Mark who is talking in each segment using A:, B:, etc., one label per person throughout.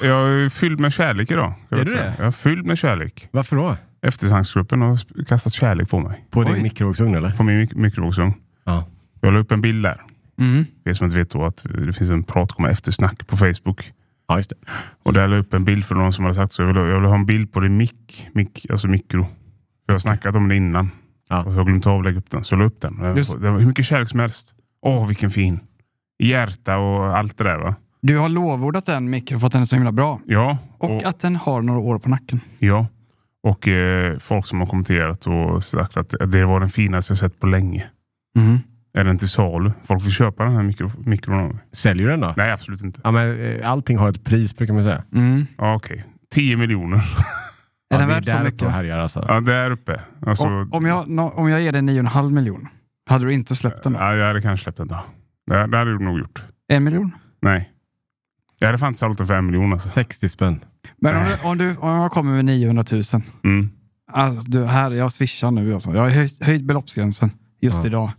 A: Jag är fylld med kärlek idag. Jag
B: Är
A: vet
B: du
A: inte.
B: det?
A: Jag är fylld med kärlek.
B: Varför då?
A: Eftersnacksgruppen har sp- kastat kärlek på mig.
B: På din mikrovågsugn eller?
A: På min mik- mikrovågsugn.
B: Ja.
A: Jag la upp en bild där.
B: Mm.
A: Det som inte vet då att det finns en pratkomma eftersnack på Facebook.
B: Ja, just det.
A: Och där la jag upp en bild för någon som hade sagt så. Jag vill, jag vill ha en bild på din mick, mick, alltså mikro. Jag har snackat om det innan.
B: Ja.
A: Och så har jag glömt av att lägga upp den. Så jag la upp den. Den
C: Just-
A: var- den var hur mycket kärlek som helst. Åh, vilken fin. Hjärta och allt det där va.
C: Du har lovordat den mikro för att den är så himla bra.
A: Ja.
C: Och
A: och-
C: att den har några år på nacken.
A: Ja, och eh, folk som har kommenterat och sagt att det var den finaste jag sett på länge. Är den till salu? Folk vill köpa den här mikro, mikron. av mig.
B: Säljer du den då?
A: Nej, absolut inte.
B: Ja, men, eh, allting har ett pris brukar man säga.
A: Ja, Okej, 10 miljoner.
C: Är
B: ja,
C: den
B: vi
C: värd så
B: där uppe
C: mycket?
B: och härjar alltså.
A: Ja, där uppe. Alltså,
C: Om, om, jag, nå- om jag ger dig 9,5 miljon, hade du inte släppt den då?
A: ja, jag hade kanske släppt den då. Det, det hade du nog gjort.
C: En miljon?
A: Nej. Jag hade fan inte sålt den för en miljon alltså.
B: 60 spänn.
C: Men om, du, om, du, om jag kommer med 900 000.
A: Mm.
C: Alltså, du, här, jag swishar nu. Alltså. Jag har höjt, höjt beloppsgränsen just
B: Ja.
C: idag.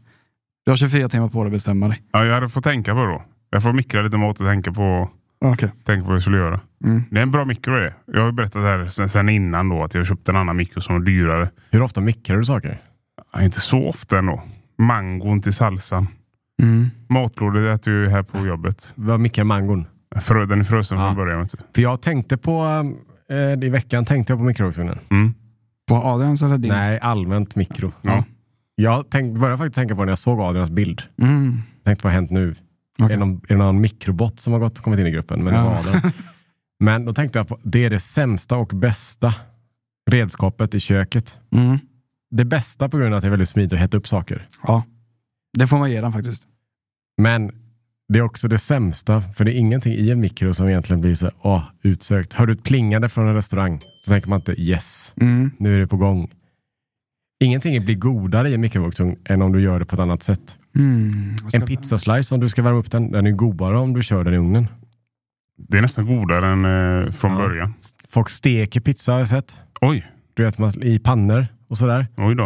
C: Du har 24 timmar på dig att bestämma dig.
A: Ja, jag hade fått tänka på det då. Jag får mikra lite mat och tänka på,
C: Okej.
A: tänka på vad jag skulle göra.
C: Mm.
A: Det är en bra mikro det. Jag har ju berättat det här sen, sen innan då att jag köpte en annan mikro som var dyrare.
B: Hur ofta mikrar du saker?
A: Ja, inte så ofta ändå. Mangon till salsan. Matlådor äter jag ju här på jobbet.
B: Vad mikrar mangon?
A: Frö, den är frusen
B: Ja.
A: från början. Vet du.
B: För jag tänkte på, eh, i veckan tänkte jag på mikrovågsugnen.
A: Mm.
C: På Adrians eller din?
B: Nej, allmänt mikro.
A: Ja.
B: Jag tänk, började faktiskt tänka på när jag såg Adrians bild.
C: Mm.
B: Tänkte vad har hänt nu? Är,
C: Okej.
B: det någon, är det någon mikrobot som har gått och kommit in i gruppen? Men, det
C: Ja.
B: var Adrian. men då tänkte jag på, det är det sämsta och bästa redskapet i köket.
C: Mm.
B: Det bästa på grund av att det är väldigt smidigt att hetta upp saker.
C: Ja. Det får man ge den faktiskt.
B: Men det är också det sämsta, för det är ingenting i en mikro som egentligen blir så här, åh, utsökt. Hör du ett plingande från en restaurang så tänker man inte yes,
C: Mm.
B: nu är det på gång. Ingenting blir godare i en mikrovågsugn än om du gör det på ett annat sätt.
C: Mm. Jag ska-
B: En pizzaslice, om du ska värma upp den, den är godare om du kör den i ugnen.
A: Det är nästan godare än eh, från
B: Ja.
A: början.
B: Folk steker pizza har jag sett.
A: Oj,
B: Du vet, man- i pannor och sådär.
A: oj då.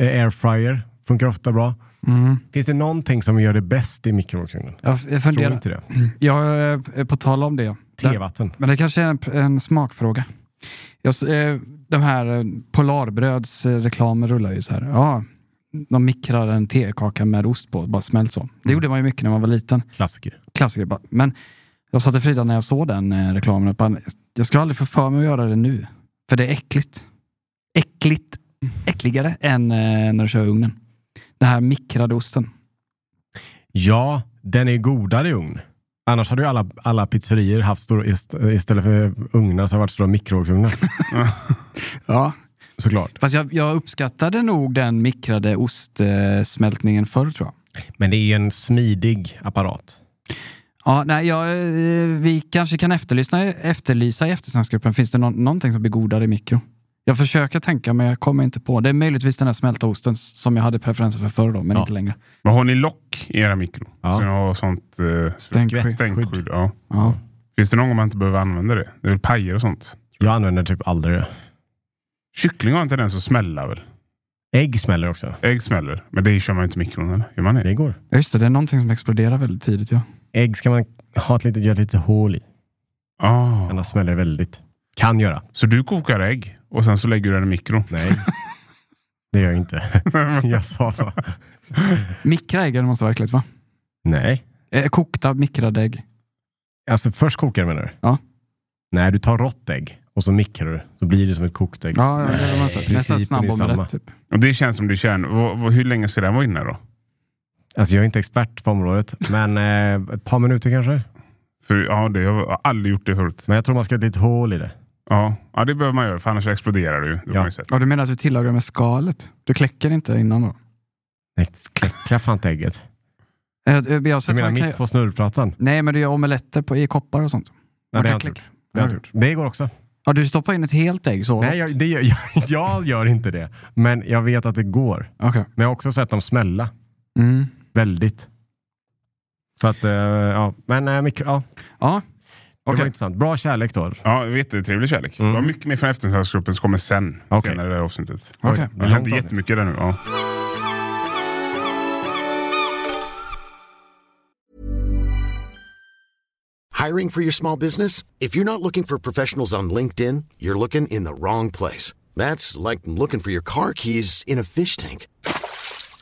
B: Eh, Airfryer funkar ofta bra.
C: Mm.
B: Finns det någonting som gör det bäst i mikrovågsugnen?
C: Jag, jag
B: Tror
C: funderar.
B: inte det.
C: Jag eh, på tal om det. Där-
B: Tevatten.
C: Men det kanske är en, en smakfråga. Jag, s- eh, de här eh, Polarbröds eh, reklamen rullar ju så här. Ja, de mikrar en tekaka med ost på, bara smält så. Det gjorde man ju mycket när man var liten.
B: Klassiker.
C: Klassiker. bara. Men jag sa till Frida när jag såg den eh, reklamen att man, jag skulle aldrig få för mig att göra det nu. För det är äckligt. Äckligt. Äckligare än eh, när du kör i ugnen. Den här mikrade osten.
B: Ja, den är godare i ugn. Annars hade ju alla, alla pizzerier haft stora, ist- istället för ugnar så har det varit stora mikrovågsugnar.
C: Ja.
B: Såklart.
C: Fast jag, jag uppskattade nog den mikrade ostsmältningen förr tror jag.
B: Men det är ju en smidig apparat.
C: Ja, nej, jag, eh, vi kanske kan efterlysa, efterlysa i eftersnacksgruppen. Finns det nå- någonting som blir godare i mikro? Jag försöker tänka men jag kommer inte på. Det är möjligtvis den här smälta osten s- som jag hade preferenser för förr då, men
B: Ja.
C: inte längre.
A: Men har ni lock i era mikro?
B: Ja.
A: Så ni har sånt eh,
C: Stänkskydd.
A: stänkskydd. Ja.
C: Ja.
A: Finns det någon gång man inte behöver använda det? Det är väl pajer och sånt.
B: Jag använder typ aldrig det.
A: Kyckling har en tendens att smälla väl?
B: Ägg smäller också.
A: Ägg smäller. Men det kör man ju inte i mikron eller? Gör man det?
B: Det går.
C: Ja, Just det, det är någonting som exploderar väldigt tidigt. Ja.
B: Ägg ska man ha ett litet, göra ett litet hål i.
A: Ah.
B: Annars smäller det väldigt. Kan göra.
A: Så du kokar ägg och sen så lägger du den i mikron?
B: Nej. Det gör jag inte. Jag sa bara.
C: Mikra ägg måste vara äckligt va?
B: Nej.
C: Eh, kokta mikrade ägg.
B: Alltså först kokar du menar du?
C: Ja.
B: Nej, du tar rått ägg och så mikrar du. Så blir det som ett kokt ägg.
C: Ja, ja, det är
B: Nej,
C: man säger. nästan
B: principen är
C: snabb
B: samma.
C: omelett typ.
A: Och det känns som det är kärn. Vad- vad- Hur länge ska den vara inne då?
B: Alltså jag är inte expert på området, men eh, ett par minuter kanske.
A: För ja, det, jag har aldrig gjort det förut.
B: Men jag tror man ska ha ett litet hål i det.
A: Ja, ja det behöver man göra för annars exploderar det ju. Det har
B: Ja.
A: man ju sett.
C: Ja, du menar att du tillagar med skalet? Du kläcker inte innan då?
B: Nej, kläckra fan inte ägget.
C: Eh, eh, Jag har
B: Du
C: sett
B: menar
C: man kan...
B: mitt på snurrplattan?
C: Nej, men du gör omeletter på, i koppar och sånt.
B: Nej,
C: Man
B: det
C: kan
B: har jag inte
C: kläcka- Mm.
B: gjort. Det, har jag inte gjort. det går också.
C: Ja, du stoppar in ett helt ägg så?
B: Nej, jag, det gör, jag, jag gör inte det. Men jag vet att det går.
C: Okej.
B: Men jag har också sett dem smälla
C: Mm.
B: väldigt. Så att, eh, ja. Men eh, mikro, ja.
C: Ja,
B: det var
C: Okej.
B: intressant. Bra kärlek då.
A: Ja, jättetrevlig kärlek.
B: Mm.
A: Det var mycket mer från efterhandsgruppen som kommer sen.
B: Okej.
A: Senare i det här avsnittet.
C: Okej.
B: Oj,
A: Det
B: vad långt
A: hände
B: avsnitt.
A: jättemycket där nu. Ja.
D: Hi, Hiring for your small business? If you're not looking for professionals on LinkedIn, you're looking in the wrong place. That's like looking for your car keys in a fish tank.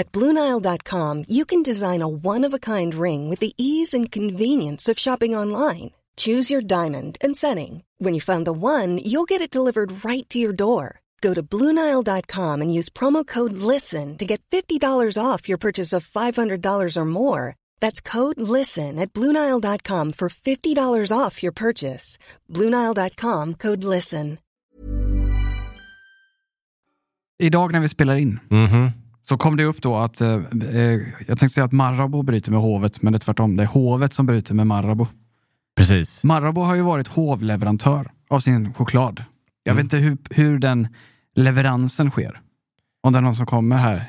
E: At Bluenile.com, you can design a one of a kind ring with the ease and convenience of shopping online. Choose your diamond and setting. When you find the one, you'll get it delivered right to your door. Go to Bluenile.com and use promo code LISTEN to get $50 off your purchase of $500 or more. That's code LISTEN at Bluenile.com for $50 off your purchase. Bluenile.com code LISTEN.
C: Idag när vi spelar in
B: Mhm.
C: så kom det upp då att, eh, eh, jag tänkte säga att Marabou bryter med hovet, men det är tvärtom. Det är hovet som bryter med Marabou.
B: Precis.
C: Marabou har ju varit hovleverantör av sin choklad. Jag vet
B: Mm.
C: inte hur, hur den leveransen sker. Om det är någon som kommer här,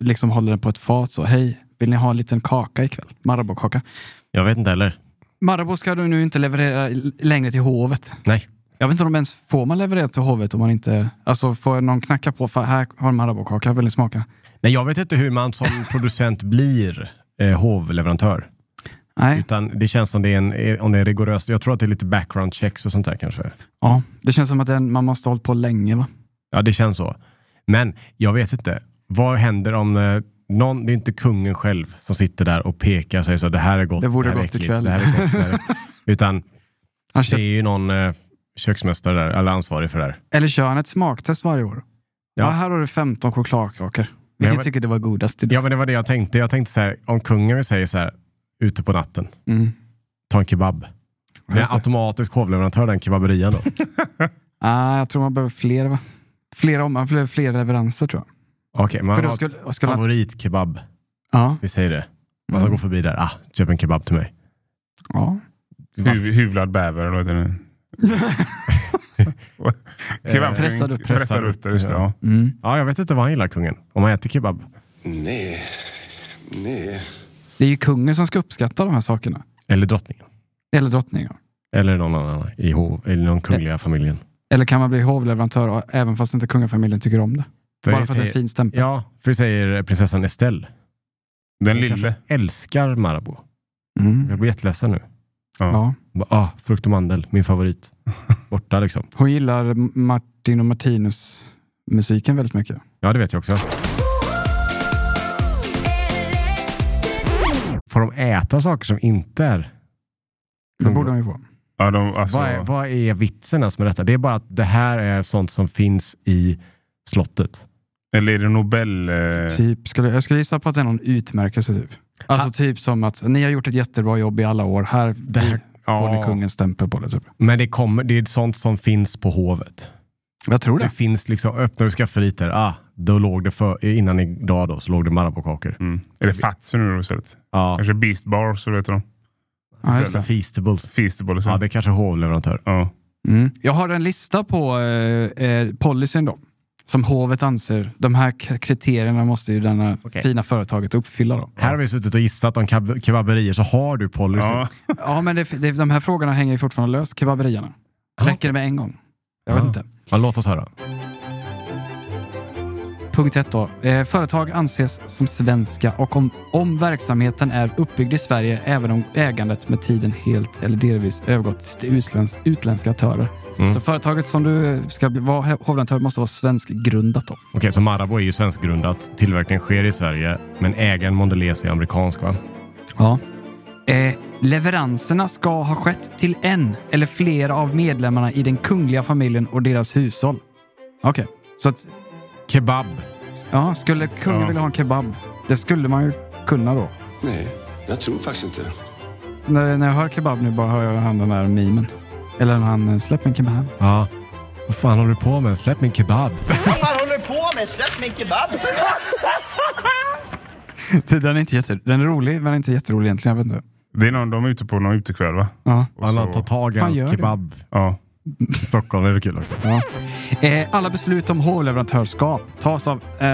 C: liksom håller den på ett fat så, hej, vill ni ha en liten kaka ikväll? Marabou-kaka.
B: Jag vet inte heller.
C: Marabou ska du nu inte leverera l- längre till hovet.
B: Nej.
C: Jag vet inte om ens får man leverera till hovet om man inte, alltså får någon knacka på, "Fan, här har en Marabou-kaka, vill ni smaka?
B: Nej, jag vet inte hur man som producent blir eh, hovleverantör.
C: Nej,
B: Utan det känns som det är en, eh, om det är rigoröst. Jag tror att det är lite background checks och sånt där kanske.
C: ja, det känns som att den, man måste ha hållit på länge va?
B: Ja, det känns så. Men jag vet inte. Vad händer om eh, någon, det är inte kungen själv som sitter där och pekar och säger så här, det här är gott,
C: Det vore
B: här är
C: gott
B: äckligt,
C: ikväll."
B: Det här är gott, det här är... Utan
C: Han
B: det är
C: kör,
B: ju någon eh, köksmästare där, eller ansvarig för det här.
C: eller kör han ett smaktest varje år? Ja.
B: Ja.
C: här har du 15 chokladkakor.
B: Men jag
C: Vilken
B: vet-
C: tycker du var godast idag?
B: Ja, men det var det jag tänkte. Jag tänkte så här, om kungen säger så här, ute på natten,
C: Mm.
B: ta en kebab. Men
C: Just det.
B: automatisk hovleverantör den kebaberian då?
C: Ah, jag tror man behöver fler va? Fler, om, man behöver fler leveranser tror jag.
B: Okej, man
C: För då
B: har
C: skulle, skulle han,
B: favoritkebab.
C: ja,
B: Vi säger det. Man
C: Mm.
B: går förbi där, ah, köp en kebab till mig.
C: ja.
A: Huv, hyvlad bäver eller vad heter den?
B: Eh,
A: Kebab-
C: Pressad upp.
A: Pressad upp, just det. Ja.
C: Mm.
B: Ja, jag vet inte vad han gillar kungen. Om han äter kebab.
F: Nej, nej.
C: Det är ju kungen som ska uppskatta de här sakerna.
B: Eller drottningen.
C: Eller drottningen.
B: Eller någon annan i hov, eller någon kungliga familjen.
C: Eller kan man bli hovleverantör och- även fast inte kungafamiljen tycker om det?
B: För
C: Bara
B: vi
C: för att det är
B: säger-
C: en fin stämpel.
B: Ja, för vi säger prinsessan Estelle.
A: Den
B: Hon
A: lille.
B: kanske Älskar Marabou.
C: Mm.
B: Jag blir jätteledsen nu.
C: Ja.
B: Bara, Ah, frukt och mandel, min favorit. Borta liksom.
C: Hon gillar Martin och Martinus musiken väldigt mycket.
B: Ja, det vet jag också. Får de äta saker som inte är... Mm.
C: Det borde hon ju få.
A: Ja, de, alltså,
B: Vad är, vad är vitsen ens med detta? Det är bara att det här är sånt som finns i slottet.
A: Eller är det Nobel? Eh,
C: Typ, skulle, jag skulle gissa på att det är någon utmärkelse typ. Alltså typ som att ni har gjort ett jättebra jobb i alla år. Här,
B: Det här-
C: får ni
B: Ja.
C: kungens stämpel på det. Typ.
B: Men det, kommer, det är sånt som finns på hovet.
C: Jag tror
B: Det
C: det.
B: finns liksom, öppnar du skafferiet där, ah, då låg det för, innan idag då, så låg det Marabou-kakor.
A: mm. Är det Fatsu nu då istället?
B: Ja,
A: Kanske Beast Bar, så vet de.
C: Ja, just
B: eller
C: det.
A: Mm.
B: Feastables.
A: Feastable.
B: Ja,
A: Ja,
B: det är kanske hovleverantör.
A: ja.
C: Mm. Jag har en lista på eh, eh, policyn då. Som hovet anser, de här k- kriterierna måste ju denna
B: Okej.
C: fina företaget uppfylla då.
B: Här har vi suttit och gissat om keb- kebaberier, så har du policy.
A: Ja.
C: Ja, men det, det, de här frågorna hänger ju fortfarande löst, kebaberierna. Räcker det med en gång? Jag vet
B: Ja.
C: inte.
B: Ja, låt oss höra.
C: Punkt ett då. Eh, företag anses som svenska och om, om verksamheten är uppbyggd i Sverige även om ägandet med tiden helt eller delvis övergått till utländsk, utländska aktörer.
B: Mm.
C: Så företaget som du ska bli- vara hovleverantör måste vara svenskgrundat då.
B: Okej, så Marabou är ju svenskgrundat. Tillverkningen sker i Sverige, men ägaren Mondelez är amerikansk va?
C: Ja. Eh, leveranserna ska ha skett till en eller flera av medlemmarna i den kungliga familjen och deras hushåll. Okej, så att,
B: Kebab.
C: ja, skulle kungen
A: Ja.
C: vilja ha en kebab, det skulle man ju kunna då.
F: Nej, jag tror faktiskt inte.
C: När, när jag hör kebab nu bara hör jag han den där mimen. Eller när han eh, släpper en kebab.
B: Ja. Vad fan håller du på med? Släpp min kebab.
G: Vad man håller på med, släpp min kebab!
C: den, är inte jätte, den är rolig, men inte jätterolig egentligen. Jag vet inte.
A: Det är någon, de är ute på någon utekväll va?
C: Ja.
A: Och
B: Han
A: så-
B: har tagit
C: Fan,
B: hans
C: gör det.
B: kebab.
A: Ja.
B: Stockholm är det kul också.
C: Eh, alla beslut om hovleverantörskap tas av, eh,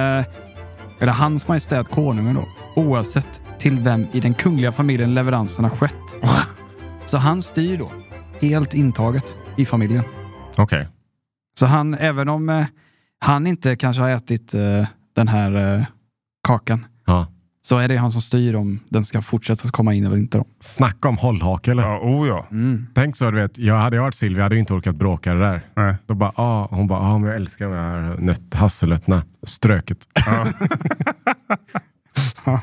C: eller hans majestät konungen då, oavsett till vem i den kungliga familjen leveransen har skett. Så han styr då, helt intaget i familjen.
B: Okej.
C: Så han, även om eh, han inte kanske har ätit eh, den här eh, kakan,
B: Ja.
C: så är det han som styr om den ska fortsätta komma in eller inte. Då.
B: Snacka om hållhake eller?
A: Ja, oh ja.
B: Tänk så, du vet, jag hade jag varit Silvia hade jag inte orkat bråka det där.
A: Nej.
B: Då bara, ah, hon bara, ah, men jag älskar de här nöt, hasselnötterna. Ströket.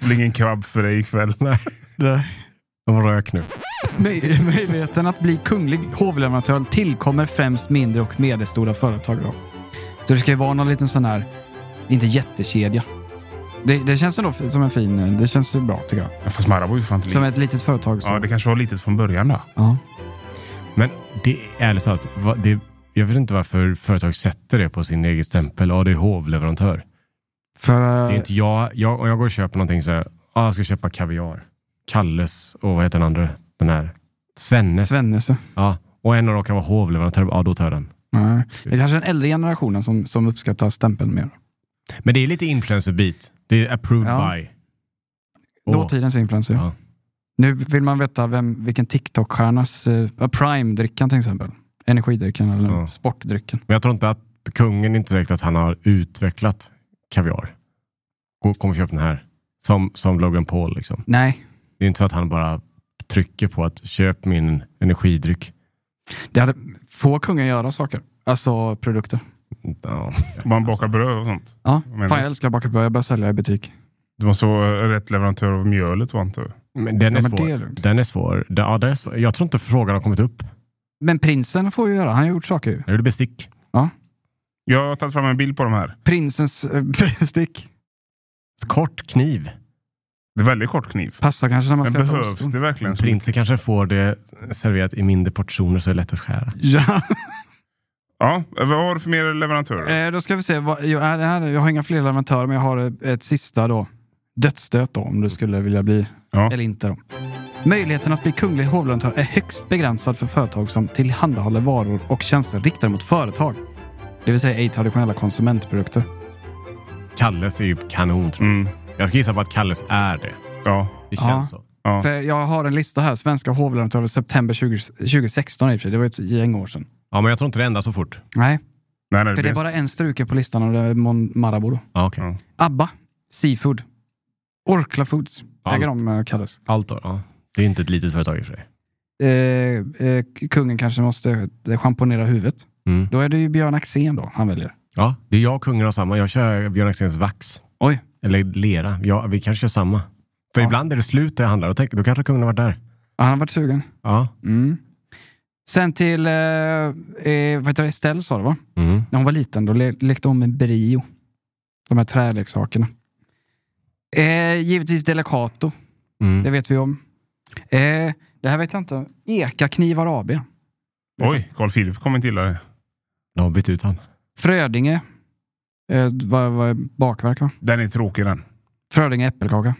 A: Det blir ingen krabb för dig ikväll.
B: Nej, de rök nu.
C: Möj- Möjligheten att bli kunglig hovleverantör tillkommer främst mindre och medelstora företag. Då. Så det ska ju vara någon liten sån här, inte jättekedja. Det, det känns ändå f- som en fin, eh, det känns ju bra tycker jag.
A: Ja, Fast Marabou är ju fan inte
C: Som
A: litet.
C: ett litet företag. Som,
A: Ja, det kanske var litet från början då.
C: ja.
B: Men det är ärligt talat, va- det, jag vet inte varför företag sätter det på sin egen stämpel. Ja, det är hovleverantör.
C: För, eh,
B: Det är inte jag, jag, om jag går och köper någonting så här, ah, jag ska köpa kaviar. Kalles och vad heter den andra? Den här? Svennes.
C: Svennelse.
B: Ja, och en av dem kan vara hovleverantör. Ja, då tar jag den.
C: Nej. Det är kanske den äldre generationen som, som uppskattar stämpeln mer.
B: Men det är lite influencer-bit. Det är approved
C: Ja. typ.
B: by.
C: Dåtidens influencer.
B: Ja.
C: Nu vill man veta vem, vilken TikTok-stjärnas... Eh, ja, Prime-drickan till exempel. Energidrycken eller
B: Ja.
C: sportdrycken.
B: Men jag tror inte att kungen inte direkt att han har utvecklat kaviar. Gå- Kom och köp den här. Som, som Logan Paul liksom.
C: Nej,
B: Det är inte så att han bara trycker på att köp min energidryck.
C: det hade, får kungen göra saker? Alltså produkter.
B: Ja.
A: Man bakar bröd och sånt.
C: Ja.
A: menar
C: Fan,
A: du?
C: jag älskar att baka bröd. Jag börjar sälja i butik.
A: Du måste vara eh, rätt leverantör av mjölet va, antar jag.
B: Men den,
C: Ja,
B: är
C: men
B: svår.
C: det är lugnt.
B: den är svår. Den- Ja, den är svår. Jag tror inte frågan har kommit upp.
C: Men prinsen får ju göra. Han har gjort saker ju.
B: Är det bestick?
A: Jag har tagit fram en bild på de här.
C: Prinsens eh, prinsstick
B: Kort kniv.
A: Det är väldigt kort kniv.
C: passar kanske när man
A: Men
C: ska äta
A: behövs
C: ost.
A: det verkligen? så mycket?
B: Prinsen kanske får det serverat i mindre portioner så det är lätt att skära.
C: Ja.
A: Ja, vad har du för mer leverantörer?
C: Eh, då ska vi se. Vad, jag, är det här, jag har inga fler leverantörer, men jag har eh, ett sista då. Dödsstöt då, om du skulle vilja bli.
A: Ja.
C: Eller inte då. Möjligheten att bli kunglig hovleverantör är högst begränsad för företag som tillhandahåller varor och tjänster riktade mot företag. Det vill säga ej traditionella konsumentprodukter.
B: Kalles är ju kanon tror jag.
A: Mm,
B: Jag ska gissa på att Kalles är det.
A: ja.
B: Det
C: Ja.
B: känns så.
A: Ja.
C: För jag har en lista här. Svenska hovleverantörer september 20, 2016 i och för sig. Det var ju ett gäng år sedan.
B: Ja, men jag tror inte det ändrar så fort.
C: Nej,
A: Nej, nej,
C: för det är
A: blir-
C: bara en struken på listan och det är Mon Marabou då.
B: Ja, okej.
A: Ja.
C: Abba, Seafood, Orkla Foods. Äger
B: Allt.
C: de eh, kallas.
B: Allt då, ja. Det är inte ett litet företag i och för sig.
C: eh, eh, kungen kanske måste eh, schamponera huvudet.
B: Mm.
C: Då är det ju Björn Axén då han väljer.
B: Ja, det är jag och kungen har samma. Jag kör Björn Axéns vax.
C: Oj.
B: Eller lera. Ja, vi kanske kör samma. För
C: Ja.
B: ibland är det slut där jag handlar. Då, tänker, då kanske kungen har varit där.
C: Ja, Han har varit sugen.
B: Ja.
C: Mm. Sen till, eh, eh, vad heter det, Estelle sa det va?
B: Mm.
C: När hon var liten då le lekte hon med Brio. De här träleksakerna. Eh, givetvis Delicato, det
B: Mm.
C: vet vi om. Eh, det här vet jag inte. Eka Knivar AB.
A: Oj, Carl Philip kommer inte gilla det.
B: De har bytt ut han.
C: Frödinge. Eh, vad, vad är bakverk va?
A: Den är tråkig den.
C: Frödinge äppelkaka.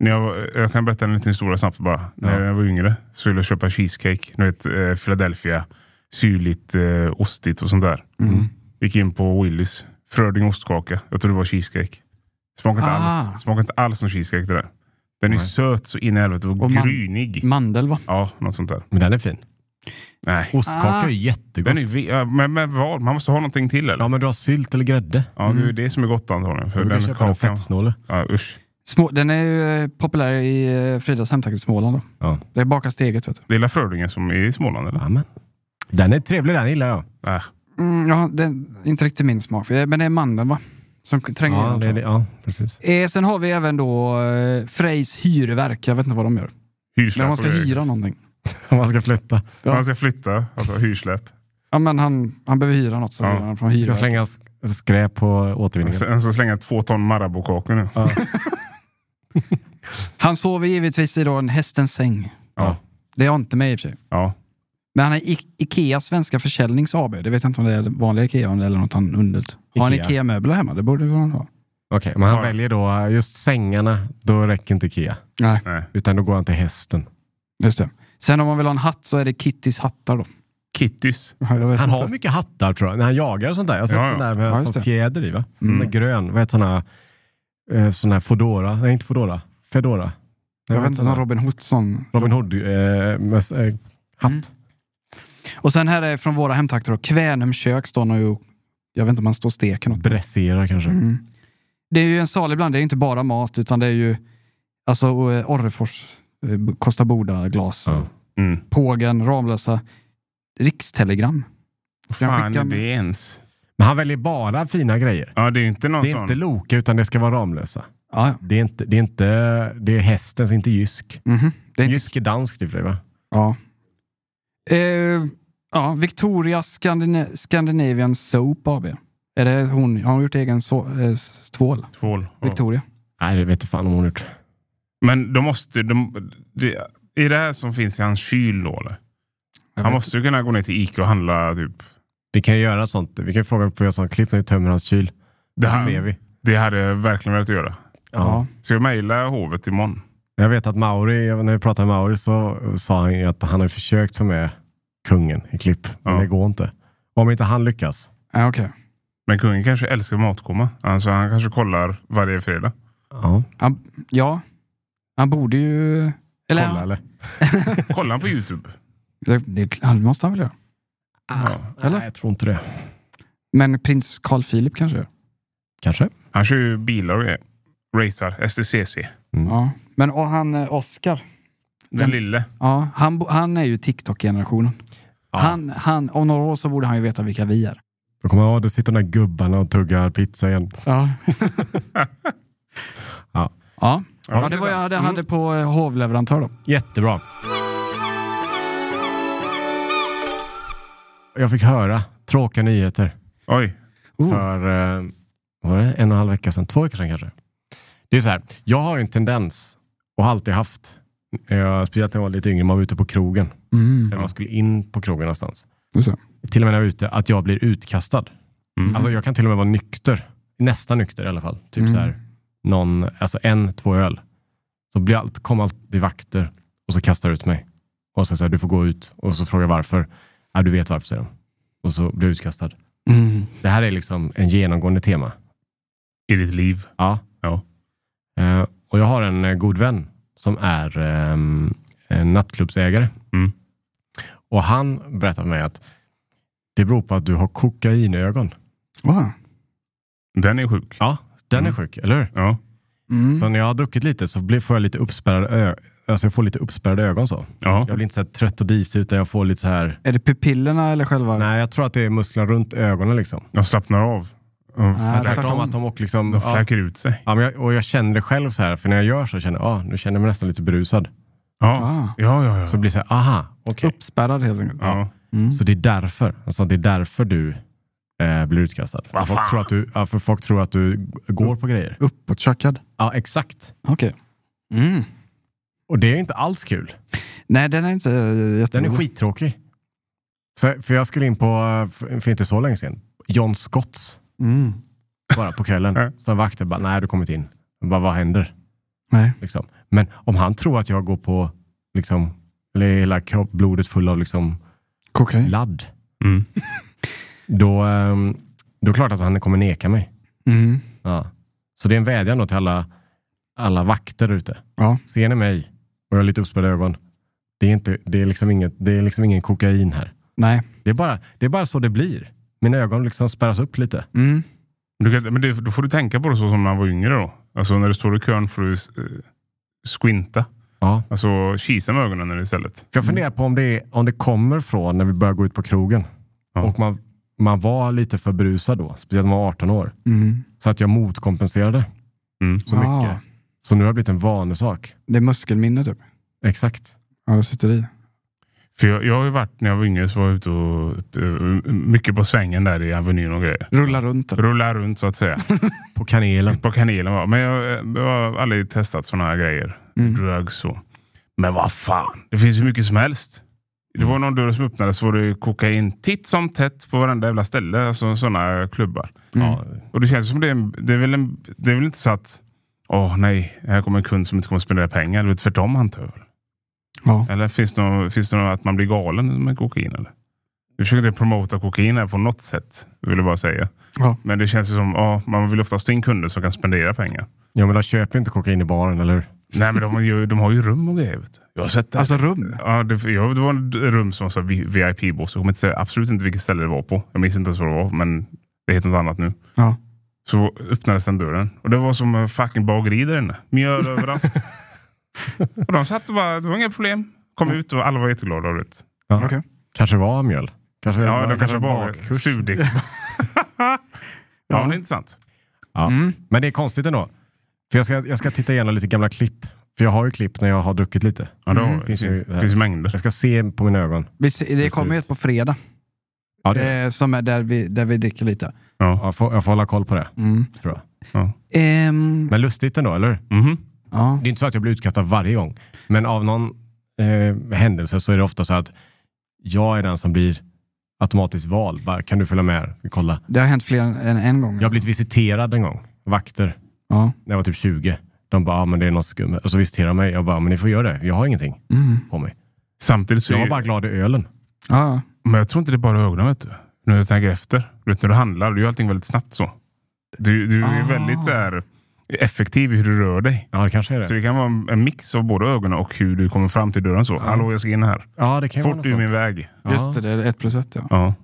A: När jag, var- jag kan berätta en liten historia snabbt bara. När jag var yngre så skulle jag köpa cheesecake. Du vet, eh, Philadelphia. Syrligt, eh, ostigt och sånt där.
C: Mm.
A: Gick in på Willys. Fröding ostkaka. Jag trodde det var cheesecake. Smakar inte,
C: Ah.
A: alls, smakar inte alls som cheesecake det där. Den är
B: Nej.
A: söt så in i helvete och,
C: Och man- Mm.
A: grynig.
C: Mandel va?
A: Ja, något sånt där.
B: Men den är fin.
A: Nej.
B: Ostkaka
C: Ah.
B: är jättegott.
A: Den är, vi- ja, men, men vad? Man måste ha någonting till eller?
B: Ja,
A: Ja,
B: men du har sylt eller grädde.
A: det är ju det som är gott antagligen. För
B: Du kan
A: den
B: köpa
A: kakan.
B: en fettsnåle.
A: Ja, usch.
C: Små, den är ju eh, populär i eh, Fridas hemtrakt i Småland. Då.
B: Ja.
C: Det bakas till eget. Vet du.
A: Det är La Frödingen som är i Småland eller?
B: Amen. Den är trevlig, den gillar jag.
A: Äh.
C: Mm, ja, det är inte riktigt min smak. Eh, Men det är mandeln va? Som k- tränger
B: Ja,
C: igenom,
B: det,
C: tror
B: är det, ja precis.
C: jag. Eh, sen har vi även då eh, Frejs hyrverk. Jag vet inte vad de gör.
A: Hyrsläpp
C: Men man ska
A: på väg.
C: hyra någonting.
B: Om man ska flytta.
C: Ja.
A: Man ska flytta, alltså hyrsläpp.
C: Ja, men han, han behöver hyra något så
A: Ja.
C: hyr han från
B: Du ska
C: hyrverk.
B: slänga sk- skräp på
A: Han
B: återvinningen.
A: ska- han ska slänga två ton Marabou-kakor nu.
C: Han sover givetvis i då en hästens säng.
A: Ja.
C: Det har inte mig i och för sig.
A: Ja.
C: Men han är I- Ikea Svenska Försäljnings AB. Det vet jag inte om det är vanliga Ikea eller något han undelt. Har han
B: Ikea.
C: Ikea-möbler hemma? Det borde han ha.
B: Okej, men han
A: Ja.
B: väljer då just sängarna. Då räcker inte Ikea.
C: Nej,
A: Nej.
B: Utan då går han till hästen.
C: just det. Sen om man vill ha en hatt så är det Kittys hattar då.
A: Kittys.
C: Jag vet
B: Han har
C: inte.
B: mycket hattar tror jag, när han jagar och sånt där. Jag har sett
A: Ja, ja.
B: sån där med
C: Ja, just
B: sån
C: det.
B: fjäder i va?
C: Mm.
B: Den är grön. Vad heter sån här, eh, sån här Fodora? Nej, inte Fodora. Fedora. Nej,
C: Jag
B: vad
C: vet
B: heter
C: inte, någon
B: den?
C: Robin Hoodson.
B: Robin Hood eh, med, eh, hatt.
C: Mm. Och sen här är från våra hemtrakter då. Kvänum kök står nog och- Jag vet inte om man står och steker något.
B: Bressera kanske.
C: Mm. Det är ju en salig bland. Det är ju inte bara mat utan det är ju alltså eh, Orrefors, eh, Kosta Boda-glas,
B: Ja.
A: Mm.
C: Pågen, Ramlösa, Rikstelegram.
A: Vad
C: Jag
A: fan
C: skickar-
A: är det ens?
B: Men han väljer bara fina grejer.
A: Ja, det är ju inte någon
B: Det är
A: sån.
B: inte Loke utan det ska vara Ramlösa.
C: Ja, ja.
B: Det är, inte, det är, inte, det är hästens, inte Jysk.
C: Mhm. Det är inte
B: Jysk är dansk i och för sig va?
C: Ja. Eh, ja, Victoria Scandina- Scandinavian Soap AB. Är det hon? Har hon gjort egen so- eh, s- tvål?
A: Tvål. Ja.
C: Victoria.
B: Nej, det vet jag fan om hon har gjort.
A: Men de måste... De, det, är det här som finns i hans kyl då eller?
C: Jag
A: Han
C: vet.
A: måste ju kunna gå ner till Ica och handla typ...
B: Vi kan ju göra sånt. Vi kan ju fråga om vi får göra sånt klipp när vi tömmer hans kyl.
A: Det,
B: Då ser
A: här,
B: vi.
A: det hade jag verkligen velat göra.
C: Ja.
A: Ska jag mejla hovet imorgon?
B: Jag vet att Mauri, när vi pratade med Mauri så sa han ju att han har försökt få med kungen i klipp. Men
A: Ja.
B: det går inte. Om inte han lyckas.
C: Ja, okej.
A: Men kungen kanske älskar matkoma. Alltså han kanske kollar varje fredag.
B: Ja,
C: Han, ja. Han borde ju... Eller,
B: kolla eller?
A: Kollar han på YouTube?
C: Det, det, han måste han väl göra.
B: Ja.
C: eller?
B: Nej, jag tror inte det.
C: Men prins Carl Philip kanske gör.
B: Kanske.
A: Han kör ju bilar och grejer. Racer, STCC.
C: Ja. Men och han eh, Oscar.
A: Den lille.
C: Ja, han, bo- han är ju TikTok-generationen.
B: Ja.
C: Han, han, om några år så borde han ju veta vilka vi är.
B: Då kommer jag ihåg, det sitter de där gubbarna och tuggar pizza igen.
C: Ja.
B: Ja.
C: ja.
A: Ja,
C: det var jag hade, hade på eh, hovleverantör då.
B: Jättebra. Jag fick höra tråkiga nyheter
A: Oj.
B: för eh, vad var det, en och en halv vecka sedan, två veckor sedan kanske. Det är så här, jag har en tendens och har alltid haft, eh, speciellt när jag var lite yngre, man var ute på krogen, eller man skulle in på krogen någonstans.
C: Just det.
B: Till och med när jag var ute, att jag blir utkastad.
A: Mm.
B: Alltså jag kan till och med vara nykter, nästan nykter i alla fall. Typ
C: Mm.
B: så här, någon, alltså en, två öl. Så blir allt, kommer alltid vakter och så kastar ut mig. Och så säger du får gå ut. Och så frågar jag varför. Ja, du vet varför, säger de. Och så blir jag utkastad.
C: Mm.
B: Det här är liksom en genomgående tema.
A: I ditt liv.
B: Ja.
A: Ja.
B: Eh, och jag har en eh, god vän som är ehm, en nattklubbsägare.
A: Mm.
B: Och han berättar för mig att det beror på att du har kokainögon.
C: Wow.
A: Den är sjuk.
B: Ja, den
A: Mm.
B: är sjuk, eller hur?
A: Ja.
C: Mm.
B: Så när jag har druckit lite så blir, får jag lite uppspärrade, ö- alltså jag får lite uppspärrade ögon. så.
A: ja.
B: Jag blir inte så här trött och disig utan jag får lite så här...
C: Är det pupillerna eller själva?
B: Nej, jag tror att det är musklerna runt ögonen liksom.
A: De slappnar av. De,
C: Ja,
A: flack,
B: Tvärtom
C: tvärtom.
B: att de åker liksom...
A: de
B: Ah. ja,
A: fläker ut sig.
B: ja, men jag, och jag känner det själv så här, för när jag gör så känner jag, ah, nu känner jag mig nästan lite berusad.
A: Ja.
C: Ah.
A: Ja, ja, ja.
B: Så blir det så här, aha, okej.
C: Uppspärrad helt enkelt.
A: ja.
B: Så det är därför. Alltså det är därför du eh, blir utkastad. För
A: Vad fan?
B: folk, tror att du, ja, för folk tror att du g- går på grejer.
C: Uppåtchackad.
B: Ja, exakt.
C: Okej. Mm.
B: Och det är inte alls kul.
C: Nej, den är inte eh,
B: Den
C: jätterolig.
B: är skittråkig. Så, för jag skulle in på, eh, för för inte så länge sedan, John Scotts.
C: Mm.
B: Bara på kvällen.
A: Mm.
B: Som vakter bara, nej du kommer inte in. Jag Bara, vad händer?
C: Nej.
B: Liksom. Men om han tror att jag går på, liksom, eller är hela kropp, blodet full av liksom,
C: Kokain.
B: ladd.
A: Mm.
B: Då, ehm, då är det klart att han kommer neka mig.
C: Mm.
B: Ja. Så det är en vädjan då till alla, alla vakter ute.
C: Ja.
B: Ser ni mig och jag har lite uppspärrade ögon, det är, inte, det, är liksom inget, det är liksom ingen kokain här.
C: Nej.
B: Det är, bara, det är bara så det blir. Mina ögon liksom spärras upp lite.
C: Mm.
A: Men, du kan, men det, då får du tänka på det så som när man var yngre då. Alltså när du står i kön får du eh, squinta.
B: Ja.
A: Alltså kisa med ögonen istället.
B: För jag funderar på om det, är, om det kommer från när vi börjar gå ut på krogen.
A: Ja.
B: Och man, man var lite för berusad då, speciellt när man var 18 år.
C: Mm.
B: Så att jag motkompenserade
A: Mm.
B: så
C: Ah.
B: mycket. Så nu har det blivit en vanesak.
C: Det är muskelminne typ.
B: Exakt.
C: Ja, det sitter i.
A: För jag, jag har ju varit, när jag var yngre, så var jag ute och eh, mycket på svängen där i Avenyn och grejer.
C: Rulla runt. typ. eller?
A: Rulla runt så att säga.
B: På kanelen.
A: på kanelen. va. Men jag, eh, jag har aldrig testat sådana här grejer.
C: Mm.
A: Drugs och... Men vad fan, det finns hur mycket som helst. Det var någon dörr som öppnades så var det kokain titt som tätt på varenda jävla ställe. Alltså sådana klubbar.
C: Mm.
B: Ja.
A: Och det känns som det är, en- det är, väl, en, det är väl inte så att Åh nej, här kommer en kund som inte kommer att spendera pengar. Det är väl tvärtom antar jag. väl.
C: Ja.
A: Eller finns det, någon, finns det någon att man blir galen med kokain? Eller? Vi försöker inte promota kokain här på något sätt, vill jag bara säga.
C: Ja.
A: Men det känns ju som, ja, man vill oftast ha in kunder som kan spendera pengar.
B: Ja, men de köper ju inte kokain i baren, eller hur?
A: Nej, men de, har ju, de har ju rum och grejer. Vet du. Jag har sett det.
C: Alltså rum.
A: ja, det, jag, det var ett rum som var VIP-bås. Jag kommer inte säga absolut inte vilket ställe det var på. Jag minns inte ens vad det var, men det heter något annat nu.
C: Ja.
A: Så öppnades den dörren. Och det var som en fucking bageri där inne. Mjöl överallt. och de satt och bara, det var inga problem. Kom ut och alla var jätteglada. och det.
B: Ja.
C: Okej.
B: Kanske var mjöl. Kanske,
A: Ja, de kanske
B: bakkurs.
A: bara surdeg. ja, det är intressant.
B: Ja. Men det är konstigt ändå. För jag ska, jag ska titta igenom lite gamla klipp. För jag har ju klipp när jag har druckit lite.
A: Ja, då,
B: Mm.
A: finns
B: Finns ju-
A: det finns ju mängder.
B: Jag ska se på mina ögon.
C: Vi, se- det
B: ser
C: kommer ju
B: ut.
C: ett på fredag,
B: Ja, det,
C: eh, som är där vi, där vi dricker lite.
B: ja, jag, får, jag får hålla koll på det,
C: Mm.
B: tror jag.
C: Ehm,
B: Men lustigt ändå, eller hur?
A: Mhm.
C: ja.
B: Det är inte så att jag blir utkastad varje gång. Men av någon eh, händelse så är det ofta så att jag är den som blir automatiskt vald. Bara, kan du följa med? här? Vi kollar.
C: Det har hänt fler än en gång.
B: Jag har blivit visiterad en gång. Vakter.
C: Ja.
B: När jag var typ 20. De bara, ah, men det är någon skum. Och så visiterar de mig. Jag bara, men ni får göra det. Jag har ingenting
C: Mm.
B: på mig.
A: Samtidigt så
B: Så jag var
A: är,
B: bara glad i ölen.
C: ja.
A: men jag tror inte det är bara ögonen. Vet du. Nu när jag tänker efter. Du vet, när du handlar, du gör allting väldigt snabbt så. Du, du är
C: Ah.
A: väldigt så här, effektiv i hur du rör dig.
B: Ja, det kanske är det.
A: Så det kan vara en- en mix av både ögonen och hur du kommer fram till dörren. så. Hallå, jag ska in här.
B: ja, det kan ju
A: Fort
B: vara
A: ur
B: något
A: min
B: sånt.
A: väg.
B: Ja.
C: Just det, det är ett plus ett ja.
A: Ja.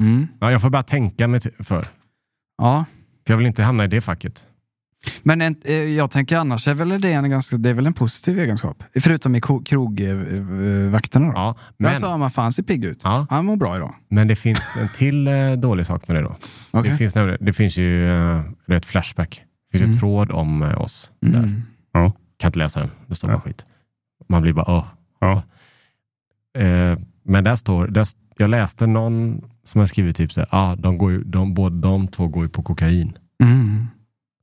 C: Mm.
B: Ja, jag får bara tänka mig till- för.
C: ja.
B: För jag vill inte hamna i det facket.
C: Men en, eh, jag tänker annars är väl det, en ganska, det är väl en positiv egenskap? Förutom i ko- krogvakterna då.
B: Ja,
C: men...
B: men,
C: Jag sa man fan ser pigg ut.
B: ja,
C: Han mår bra idag.
B: men det finns en till eh, dålig sak med det då.
C: Okej.
B: Det, finns, nämligen- det finns ju eh, det är ett flashback. Det finns ju en
C: Mm.
B: tråd om eh, oss. Där.
C: Mm.
B: Kan inte läsa den. Det står bara
A: Ja.
B: skit. Man blir bara, åh.
A: Ja.
B: Eh, men där står, där, st- jag läste någon som har skrivit typ så här, ah, de går ju, de, båda de två går ju på kokain.
C: Mm.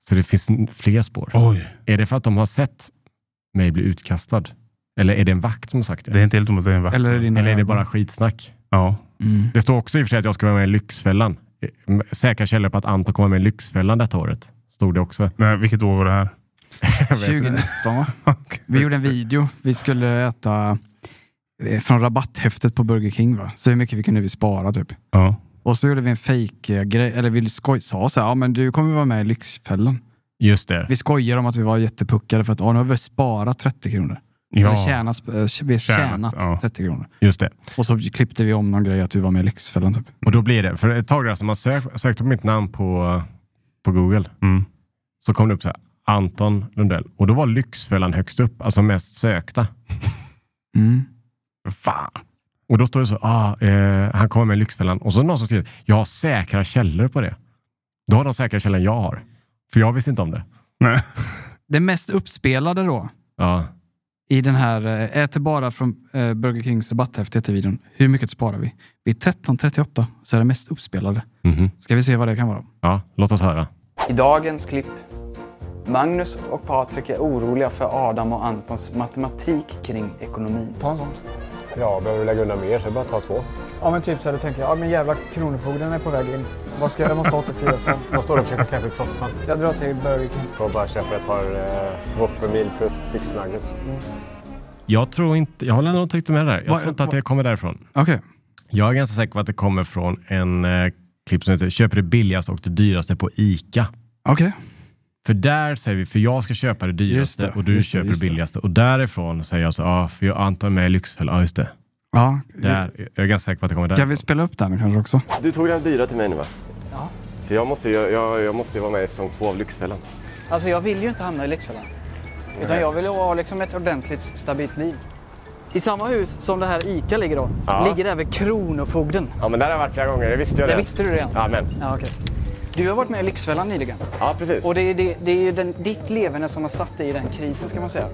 B: Så det finns n- fler spår.
A: Oj,
B: Är det för att de har sett mig bli utkastad? Eller är det en vakt som har sagt det?
A: det är inte helt omöjligt. att det är en vakt.
C: Eller, dina
B: Eller är det
C: ögon.
B: bara skitsnack?
A: Ja.
C: Mm.
B: Det står också i och för sig att jag ska vara med i Lyxfällan. Eh, m- Säkra källor på att Anton kommer med i Lyxfällan detta året. Stod det också.
A: Nej, vilket år var det här?
C: 2019 va?
A: Okej.
C: Mm. Vi gjorde en video. Vi skulle äta eh, från rabatthäftet på Burger King va? Så hur mycket vi kunde vi spara typ.
A: Ja.
C: Och så gjorde vi en fake eh, grej eller vi skoj, sa så här, ja men du kommer vara med i Lyxfällan.
B: Just det.
C: Vi skojar om att vi var jättepuckade för att ja, nu har vi sparat 30 kronor. Vi har
A: Ja.
C: tjänat, eh, vi har
A: Tjänat,
C: tjänat
A: ja.
C: 30 kronor.
B: Just det.
C: Och så klippte vi om någon grej att du var med i Lyxfällan typ.
B: Och då blir det, för ett tag där som man sök, sökte på mitt namn på, på Google
A: Mm.
B: så kom det upp så här, Anton Lundell. Och då var Lyxfällan högst upp, alltså mest sökta.
C: Mm.
B: Fan. Och då står det så, ah, eh, han kommer med i Lyxfällan. Och så är det någon som skriver, jag har säkra källor på det. Då har de säkra källor jag har. För jag visste inte om det.
A: Nej.
C: Det mest uppspelade då
B: Ja.
C: i den här eh, äter bara från eh, Burger Kings rabatthäfte heter videon. Hur mycket sparar vi? Vid 13.38 så är det mest uppspelade.
B: Mhm.
C: Ska vi se vad det kan vara?
B: ja, låt oss höra.
H: I dagens klipp. Magnus och Patrik är oroliga för Adam och Antons matematik kring ekonomin. Ta en sån.
I: Ja, behöver du lägga undan mer så bara ta två.
H: Ja men typ så här, då tänker jag, ja men jävla kronofogden är på väg in. Vad ska jag, jag måste återfyra från.
I: Vad står du och försöker släppa ut soffan?
H: Jag drar till Burger King.
I: Får bara köpa ett par eh, Whopper-meal plus six nuggets.
B: Jag tror inte, jag håller nog inte riktigt med där. Jag
C: Vad-
B: tror inte att det kommer därifrån.
C: Okej.
B: Jag är ganska säker på att det kommer från en eh, klipp som heter Köper det billigaste och det dyraste på ICA.
C: Okej.
B: För där säger vi, för jag ska köpa det dyraste
C: det,
B: och du
C: just det,
B: köper det,
C: just det.
B: billigaste. Och därifrån säger jag så, ja, för jag antar mig Lyxfällan. Ja, just det.
C: Ja.
B: Där, jag är ganska säker på att det kommer där.
C: Kan vi spela upp den kanske också?
J: Du tog den dyra till mig nu va? Ja. För jag måste ju jag, jag måste ju vara med i säsong två av Lyxfällan.
H: Alltså jag vill ju inte hamna i Lyxfällan. Utan jag vill ju ha liksom ett ordentligt stabilt liv. I samma hus som det här ICA ligger då, ligger även Kronofogden.
J: Ja men där har jag varit flera gånger, det visste jag
H: Det
J: redan.
H: visste du redan?
J: Ja men,
H: Ja, okej. Du har varit med i Lyxfällan nyligen.
J: ja precis.
H: Och det är, det, det är ju den, ditt leverne som har satt dig i den krisen ska man säga.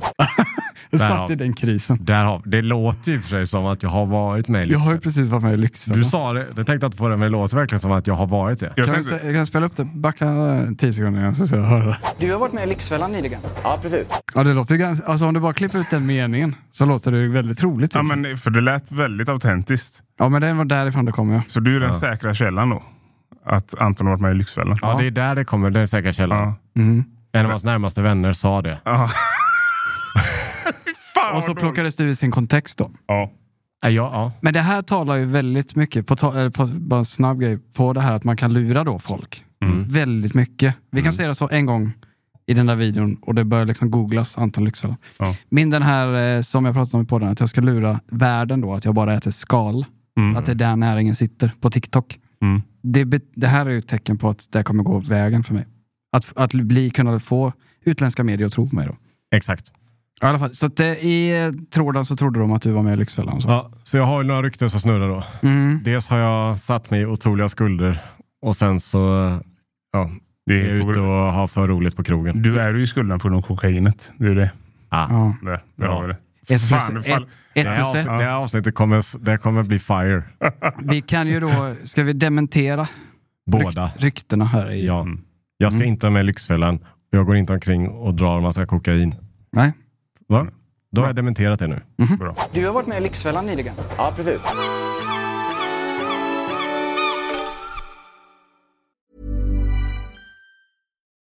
C: Jag
B: Där
C: satt
B: har vi.
C: i den krisen.
B: Där har, det låter ju för sig som att jag har varit med i
C: Jag har ju
B: Lyxfällan.
C: precis varit med i Lyxfällan.
B: Du sa det, jag tänkte inte på det, men det låter verkligen som att jag har varit det.
A: Jag
C: Kan, vi
A: tänkte,
C: se, kan jag spela upp det? Backa eh, 10 sekunder igen så ska jag höra.
H: Du har varit med i Lyxfällan nyligen.
J: Ja precis.
C: Ja, det låter ju ganska... Alltså om du bara klipper ut den meningen så låter det ju väldigt roligt.
A: ja, men, för det lät väldigt autentiskt.
C: ja, men den var därifrån det kom ja.
A: Så du är den säkra källan då? Att Anton har varit med i Lyxfällan?
B: Ja, det är där det kommer, den säkra källan.
A: Ja.
B: En av hans närmaste vänner sa det.
A: Ja. Fy fan Fan,
C: och så
A: vad
C: plockades det ur sin kontext då.
A: Ja.
B: Ja, ja.
C: Men det här talar ju väldigt mycket, på, ta- eller på, bara en snabb grej, på det här att man kan lura då folk.
A: Mm.
C: Väldigt mycket. Vi kan se det så en gång i den där videon och det börjar liksom googlas Anton Lyxfällan.
A: Ja.
C: Min den här eh, som jag pratade om i podden, att jag ska lura världen då, att jag bara äter skal. Att det är där näringen sitter, på TikTok.
A: Mm.
C: Det, be- det här är ju ett tecken på att det här kommer gå vägen för mig. Att, att bli, kunna få utländska medier att tro på mig då.
B: Exakt.
C: I alla fall, så att det, i eh, tråden så trodde de att du var med alltså. i Lyxfällan och så.
B: Ja, så jag har ju några rykten som snurrar då.
C: Mm.
B: Dels har jag satt mig i otroliga skulder och sen så ja,
A: Det
B: är
A: är
B: jag ute och
A: på,
B: har för roligt på krogen.
A: du är ju i skulden på grund av kokainet. Det är det.
B: Ah.
C: Ja.
A: Där, där
B: Ja.
A: har vi det.
C: Ett plus,
A: Fan, det
C: ett,
A: fall-
B: Det,
C: ett
B: här
C: plus ett.
B: avsnitt, det här avsnittet kommer, det kommer bli fire.
C: Vi kan ju då, ska vi dementera
B: Båda.
C: ryk- ryktena här? I,
B: Ja.
A: Mm.
B: Jag ska inte ha med Lyxfällan. Jag går inte omkring och drar massa kokain.
C: Nej?
B: Va? Då har jag dementerat det nu.
A: Bra.
H: Du har varit med i Lyxfällan nyligen.
J: Ja, precis.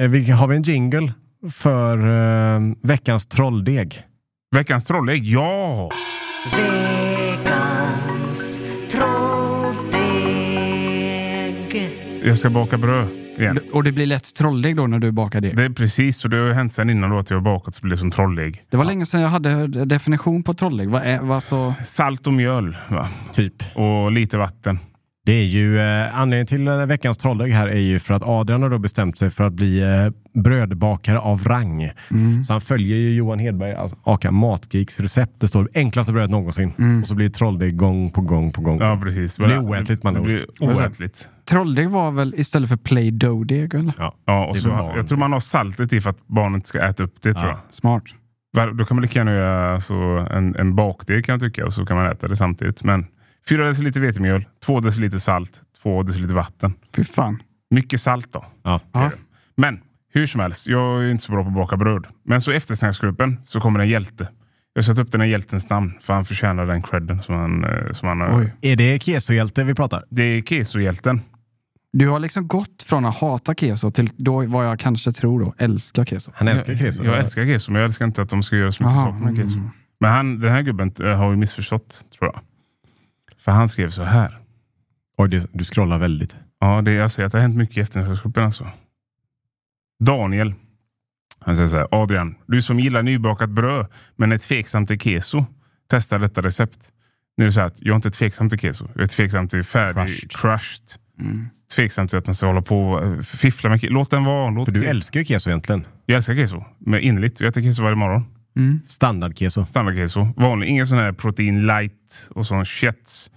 B: Eh, Vi, har vi en jingle för eh, veckans trolldeg?
A: Veckans trollägg, ja!
K: Veckans trolldeg.
A: Jag ska baka bröd igen.
C: Och det blir lätt trolldeg då när du bakar deg.
A: Det är precis, och det har hänt sen innan då att jag har bakat så blir det som trollägg.
C: Det var länge sedan jag hade definition på trolldeg. Vad är, vad så...
A: Salt och mjöl va?
B: Typ.
A: och lite vatten.
B: Det är ju, eh, anledningen till eh, veckans trolldeg här är ju för att Adrian har då bestämt sig för att bli eh, brödbakare av rang. Så han följer ju Johan Hedberg, alltså, aka Matgeeks recept. Det står enklaste bröd någonsin. Och så blir det trolldeg gång på gång på gång.
A: Ja, precis.
B: Det blir oätligt man
A: Det
B: ord.
A: blir oätligt.
C: Trolldeg var väl istället för play dough-deg? eller?
B: Ja.
A: Ja, och
B: Det är
A: så,
B: för barn.
A: jag tror man har saltet i för att barnet ska äta upp det. tror jag.
B: Ja.
C: Smart.
A: Var- Då kan man lika gärna göra så en, en bakdeg kan jag tycka och så kan man äta det samtidigt. Men 4 deciliter vetemjöl, 2 deciliter salt, 2 deciliter vatten.
C: Fy fan.
A: Mycket salt då.
B: Ja.
C: Ja.
A: Men hur som helst, jag är inte så bra på att baka bröd. Men så i eftersnacksgruppen så kommer en hjälte. Jag sätter upp den här hjältens namn för han förtjänar den credden som han, eh, som han har.
C: Oj.
B: Är det kesohjälte vi pratar?
A: Det är keso-hjälten.
C: Du har liksom gått från att hata keso till då vad jag kanske tror då, älska keso.
B: Han älskar keso.
A: Jag älskar keso, men jag älskar inte att de ska göra så mycket
C: Aha, Mm.
A: saker med keso. Men han, den här gubben eh, har ju missförstått, tror jag. För han skrev så här.
B: Oj, det- du scrollar väldigt.
A: Ja, det, jag säger att det har hänt mycket i eftermiddagsgruppen alltså. Daniel. Han säger så här. Adrian, du som gillar nybakat bröd men är tveksam till keso. Testa detta recept. Nu är det så här att jag är inte tveksam till keso. Jag är tveksam till färdig crushed.
B: Crushed. Mm.
A: Tveksam till att man ska hålla på och eh, fiffla med keso. Låt den vara. Låt
B: För du
A: keso-
B: älskar ju keso egentligen.
A: Jag älskar keso. Men innerligt. Jag äter keso varje morgon.
B: Standardkeso.
A: Standardkeso. Vanlig. Ingen sån här protein light och sån shits.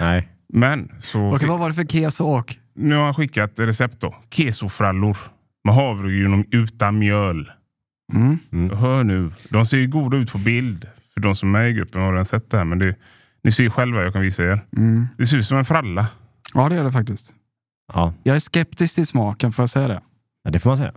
B: Nej.
A: Men så...
C: Okej,
A: fick-
C: vad var det för keso och?
A: Nu har han skickat recept då. Kesofrallor med havregryn och utan mjöl.
C: Mm.
A: Hör nu, de ser ju goda ut på bild. För de som är med i gruppen har redan sett det här. Men det, ni ser ju själva, jag kan visa er.
C: Mm.
A: Det ser ut som en fralla.
C: Ja, det gör det faktiskt.
B: Ja,
C: Jag är skeptisk till smaken, får jag säga det?
B: ja, det får man säga.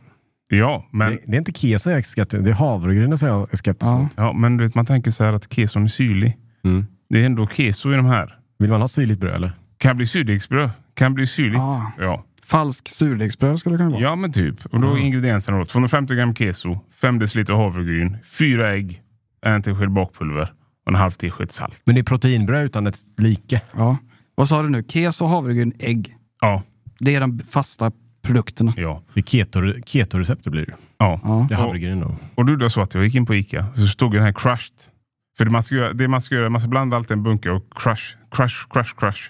A: Ja, men,
B: Det, det är inte keso jag är skeptisk Det är havregrynen som jag är skeptisk
C: Ja.
B: mot.
A: ja, men du vet, man tänker så här att keson är syrlig.
B: Mm.
A: Det är ändå keso i de här.
B: Vill man ha syrligt bröd eller?
A: Kan bli surdegsbröd. Kan bli syrligt.
C: Ah.
A: Ja.
C: Falsk surdegsbröd skulle det kunna vara.
A: ja, men typ. Och
C: Ah.
A: då är ingredienserna då 250 gram keso, 5 deciliter havregryn, 4 ägg, en tesked bakpulver och en halv tesked salt.
B: Men det är proteinbröd utan ett like.
C: Ja. Vad sa du nu? Keso, havregryn, ägg.
A: Ja.
C: Det är den fasta produkterna.
A: Ja.
B: Det är keto- keto-receptet blir det ju.
A: Ja.
B: Det är hamburgaren då.
A: Och du då så att jag gick in på Ica så stod den här crushed. För det man ska göra, det man ska göra, man ska blanda allt i en bunke och crush, crush, crush, crush.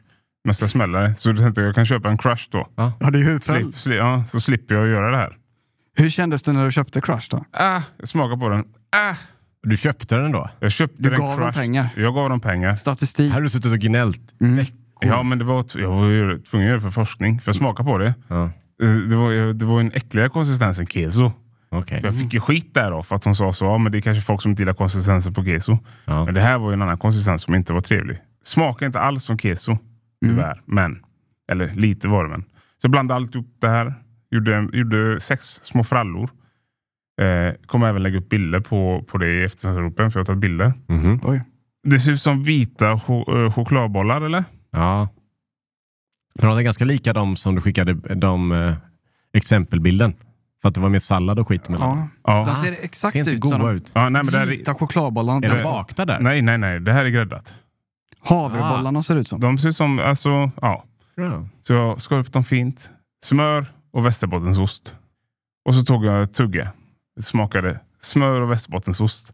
A: Men så smäller det. Så då tänkte jag, jag kan köpa en crush då.
B: Ja,
C: det är ju
A: Slip, sli, ja, så slipper jag göra det här.
C: Hur kändes det när du köpte Crush då?
A: Ah, jag smakar på den. Ah.
B: Du köpte den då?
A: Jag köpte
C: Du
A: den
C: gav dem
A: crushed.
C: pengar.
A: Jag gav dem pengar.
C: Statistik.
B: Här har du suttit och gnällt.
A: Mm. Ja, men det var, t- jag var ju tvungen att göra det för forskning. För jag smakade på det.
B: Ja.
A: Eh, Det var, det var en äckligare konsistens än keso.
B: Okej.
A: Jag fick ju skit där då för att hon sa så, ja men det är kanske folk som inte gillar konsistensen på keso.
B: Ja.
A: Men det här var ju en annan konsistens som inte var trevlig. Smakar inte alls som
C: Mm.
A: keso, tyvärr. Men, eller lite var det men. Så jag blandade allt upp det här. Gjorde, gjorde sex små frallor. Eh, kommer även lägga upp bilder på, på det i efterhandsropen för jag har tagit bilder.
C: Mm.
B: Mhm.
C: Oj.
A: Det ser ut som vita cho- eh, chokladbollar eller?
B: Ja. Men de är ganska lika de som du skickade, de eh, exempelbilden. För att det var mer sallad och skit mellan.
C: Ja.
A: Ja.
C: De ser exakt
B: Ser inte
C: ut som
B: goda
C: de
B: ut.
A: ja nej, men det här är,
C: vita chokladbollarna.
B: Är de
A: Eh,
B: bakta där?
A: nej, nej, nej. Det här är gräddat.
C: Havrebollarna ser ut som.
A: De ser ut som, alltså, ja.
B: Ja.
A: Så jag skar upp dem fint. Smör och västerbottensost. Och så tog jag ett tugga. Det smakade smör och västerbottensost.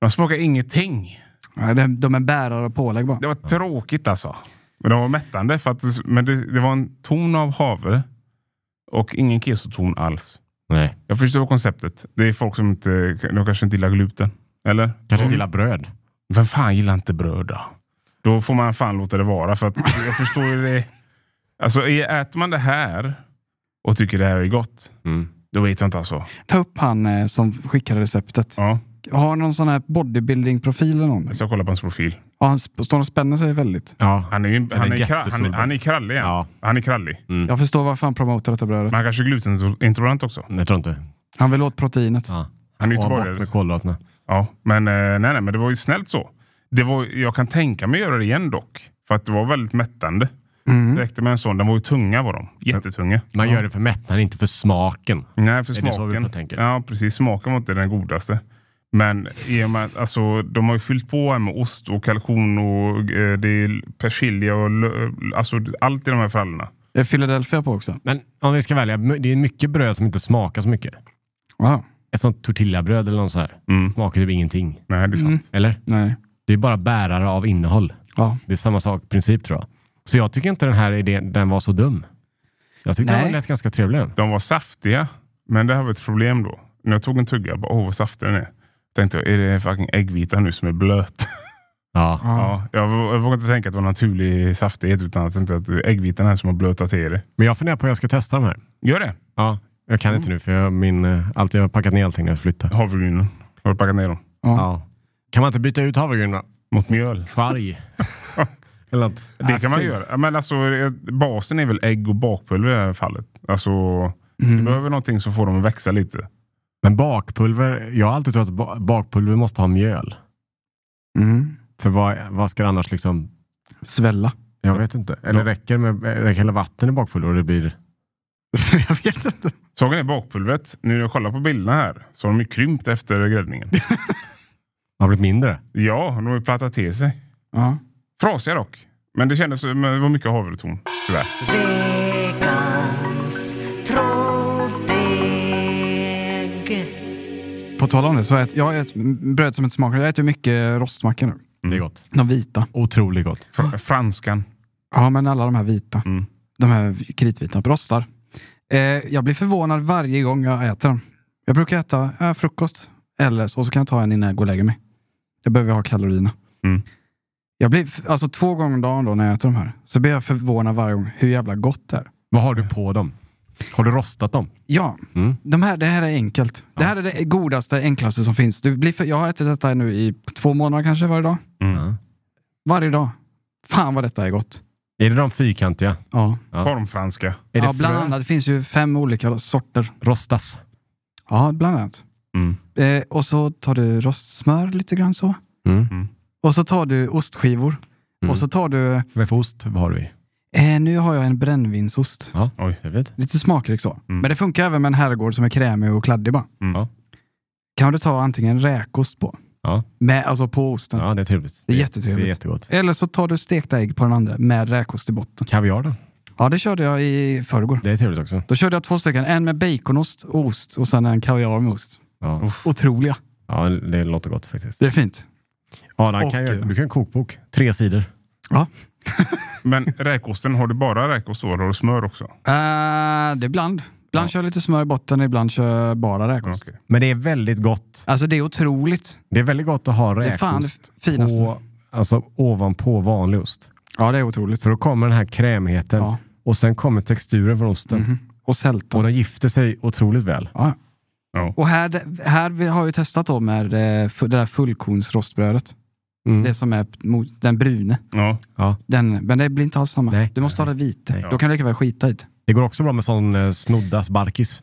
A: De smakade ingenting.
C: Nej, de- De är bärare och pålägg bara.
A: Det var tråkigt alltså. Men de var mättande. För att, det- men det, det var en ton av havre. Och ingen kesoton alls.
B: Nej.
A: Jag förstår konceptet. Det är folk som inte, de kanske inte gillar gluten. Eller?
B: Kanske inte gillar bröd.
A: Vem fan gillar inte bröd då? Då får man fan låta det vara. För att jag förstår ju det. Alltså äter man det här och tycker det här är gott.
B: Mm.
A: Då vet jag inte alltså.
C: Ta upp han eh, som skickade receptet.
A: Ja,
C: Har någon sån här bodybuilding-profil eller någonting?
A: jag ska kolla på hans profil.
C: Ja, han sp- står och spänner sig väldigt.
B: Ja.
A: Han är, ju- han är, kra-
B: jättestor.
A: han är, han är krallig. igen.
B: Ja. Mm.
A: Han är krallig.
C: Jag förstår varför han promotar detta brödet.
A: Men han kanske är glutenintolerant också.
B: Nej, Jag tror inte.
C: Han vill åt proteinet.
B: Ja.
A: Han är
B: Och
A: göteborgare.
B: bort med kolhydraterna.
A: Ja, men, eh, nej, nej, men det var ju snällt så. Det var, jag kan tänka mig att göra det igen dock. För att det var väldigt mättande. Det räckte med en sån. De var ju tunga var de. Jättetunga.
B: Man gör det för mättnaden, inte för smaken.
A: Nej, för
B: Är det så vi
A: smaken.
B: tänker?
A: Ja, precis. Smaken var inte den godaste. Men i och med, att- alltså, de har ju fyllt på här med ost och kalkon och eh, det är persilja och lö- alltså, allt i de här frallorna.
C: Det är Philadelphia på också.
B: Men om vi ska välja, det är mycket bröd som inte smakar så mycket.
C: Wow.
B: Ett sånt tortillabröd eller något så här.
A: Mm.
B: Smakar typ ingenting.
A: Nej, det är sant.
B: Eller?
C: Nej.
B: Det är bara bärare av innehåll.
C: Ja.
B: Det är samma sak, princip tror jag. Så jag tycker inte den här idén den var så dum. Jag tyckte
C: Nej.
B: den lät ganska trevlig. den.
A: De var saftiga, men det här var ett problem då. När jag tog en tugga, jag bara, åh vad saftig den är. Tänkte jag, är det fucking äggvita nu som är blöt?
B: Ja.
A: Ja, jag, vå- jag vågade inte tänka att det var naturlig saftighet, utan jag tänkte att det är äggvitan här som har blötat till det.
B: Men jag funderar på hur jag ska testa de här.
A: Gör det!
B: Ja. Jag kan inte nu för jag, min, eh, allt, jag har packat ner allting när jag flyttar.
A: Havregrynen. Har du packat ner dem?
B: Ja. Kan man inte byta ut havregrynen?
A: Mot mjöl?
B: Kvarg. eller något.
A: Det kan man göra. Ja, Men alltså, eh, basen är väl ägg och bakpulver i det här fallet. Alltså, Du behöver någonting som får dem att växa lite.
B: Men bakpulver, jag har alltid trott att ba- bakpulver måste ha mjöl.
C: Mm.
B: För vad, vad ska det annars liksom...
C: Svälla.
B: Jag vet inte. Eller räcker det med räcker hela vatten i bakpulver och det blir...
C: jag vet inte.
A: Saken är bakpulvret, nu när jag kollar på bilderna här, så har de ju krympt efter gräddningen.
B: har blivit mindre?
A: ja, de har ju plattat till sig.
C: Ja.
A: Frasiga dock. Men det kändes men det var mycket havretorn, tyvärr.
C: På tal om det, så äter, jag äter bröd som inte smakar. Jag äter mycket rostmackor nu.
B: Det är gott.
C: De vita.
B: Otroligt gott.
A: Fr- franskan.
C: Ja, men alla de här vita.
A: Mm.
C: De här kritvita. Rostar. Eh, jag blir förvånad varje gång jag äter dem. Jag brukar äta eh, frukost. Eller så, och så kan jag ta en innan jag går och lägger mig. Jag behöver ha kalorierna.
A: Mm.
C: Jag blir, f- alltså två gånger om dagen då när jag äter de här, så blir jag förvånad varje gång hur jävla gott det är.
B: Vad har du på dem? Har du rostat dem?
C: Ja,
B: Mm.
C: de här, det här är enkelt. Det här är det godaste, enklaste som finns. Du blir för, jag har ätit detta nu i två månader kanske varje dag.
B: Ja.
C: Varje dag. Fan vad detta är gott.
B: Är det de fyrkantiga?
C: Ja,
B: Ja.
A: Formfranska.
B: Är
C: ja
B: det
C: bland
B: frö?
C: annat. Det finns ju fem olika sorter.
B: Rostas?
C: Ja, bland annat.
A: Mm.
C: Eh, och så tar du rostsmör lite grann så.
B: Mm.
C: Och så tar du ostskivor. Och så tar du,
B: Vad för ost vad har du i?
C: eh, nu har jag en brännvinsost.
B: Ja.
A: Oj.
B: Trevligt.
C: Lite smakrik så.
B: Mm.
C: Men det funkar även med en herrgård som är krämig och kladdig bara.
A: Mm.
B: Ja.
C: Kan du ta antingen räkost på.
B: Ja.
C: Med, alltså på osten.
B: ja, det är trevligt.
C: Det är
B: Det är
C: jättetrevligt.
B: jättegott.
C: Eller så tar du stekta ägg på den andra med räkost i botten.
B: Kaviar då?
C: Ja, det körde jag i förrgår.
B: Det är trevligt också.
C: Då körde jag två stycken. En med baconost och ost och sen en kaviar med ost.
B: Ja.
C: Otroliga.
B: ja, det låter gott faktiskt.
C: Det är fint.
B: Adam,
C: Och-
B: kan jag, du kan en kokbok. Tre sidor.
C: Ja.
A: Men räkosten, har du bara räkost då? eller Har du smör också?
C: Eh, det är bland. Ibland kör jag lite smör i botten, ibland kör jag bara räkost.
B: Men det är väldigt gott.
C: Alltså det är otroligt.
B: Det är väldigt gott att ha
C: Det är fan
B: räkost
C: det finaste.
B: på, alltså, ovanpå vanlig ost.
C: Ja, det är otroligt.
B: För då kommer den här krämigheten
C: Ja. Mhm.
B: och sen kommer texturen från osten.
C: Och sälta.
B: Och den gifter sig otroligt väl.
C: Ja.
A: Ja.
C: Och här, här vi har vi testat då med eh, fu- det där fullkornsrostbrödet.
B: Mm.
C: Det som är mot den brune.
A: Ja.
B: Ja.
C: Den, men det blir inte alls samma.
B: Nej.
C: Du måste ha det vita.
B: Nej.
C: Då kan du lika väl skita i det.
B: Det går också bra med sån eh, snoddas barkis.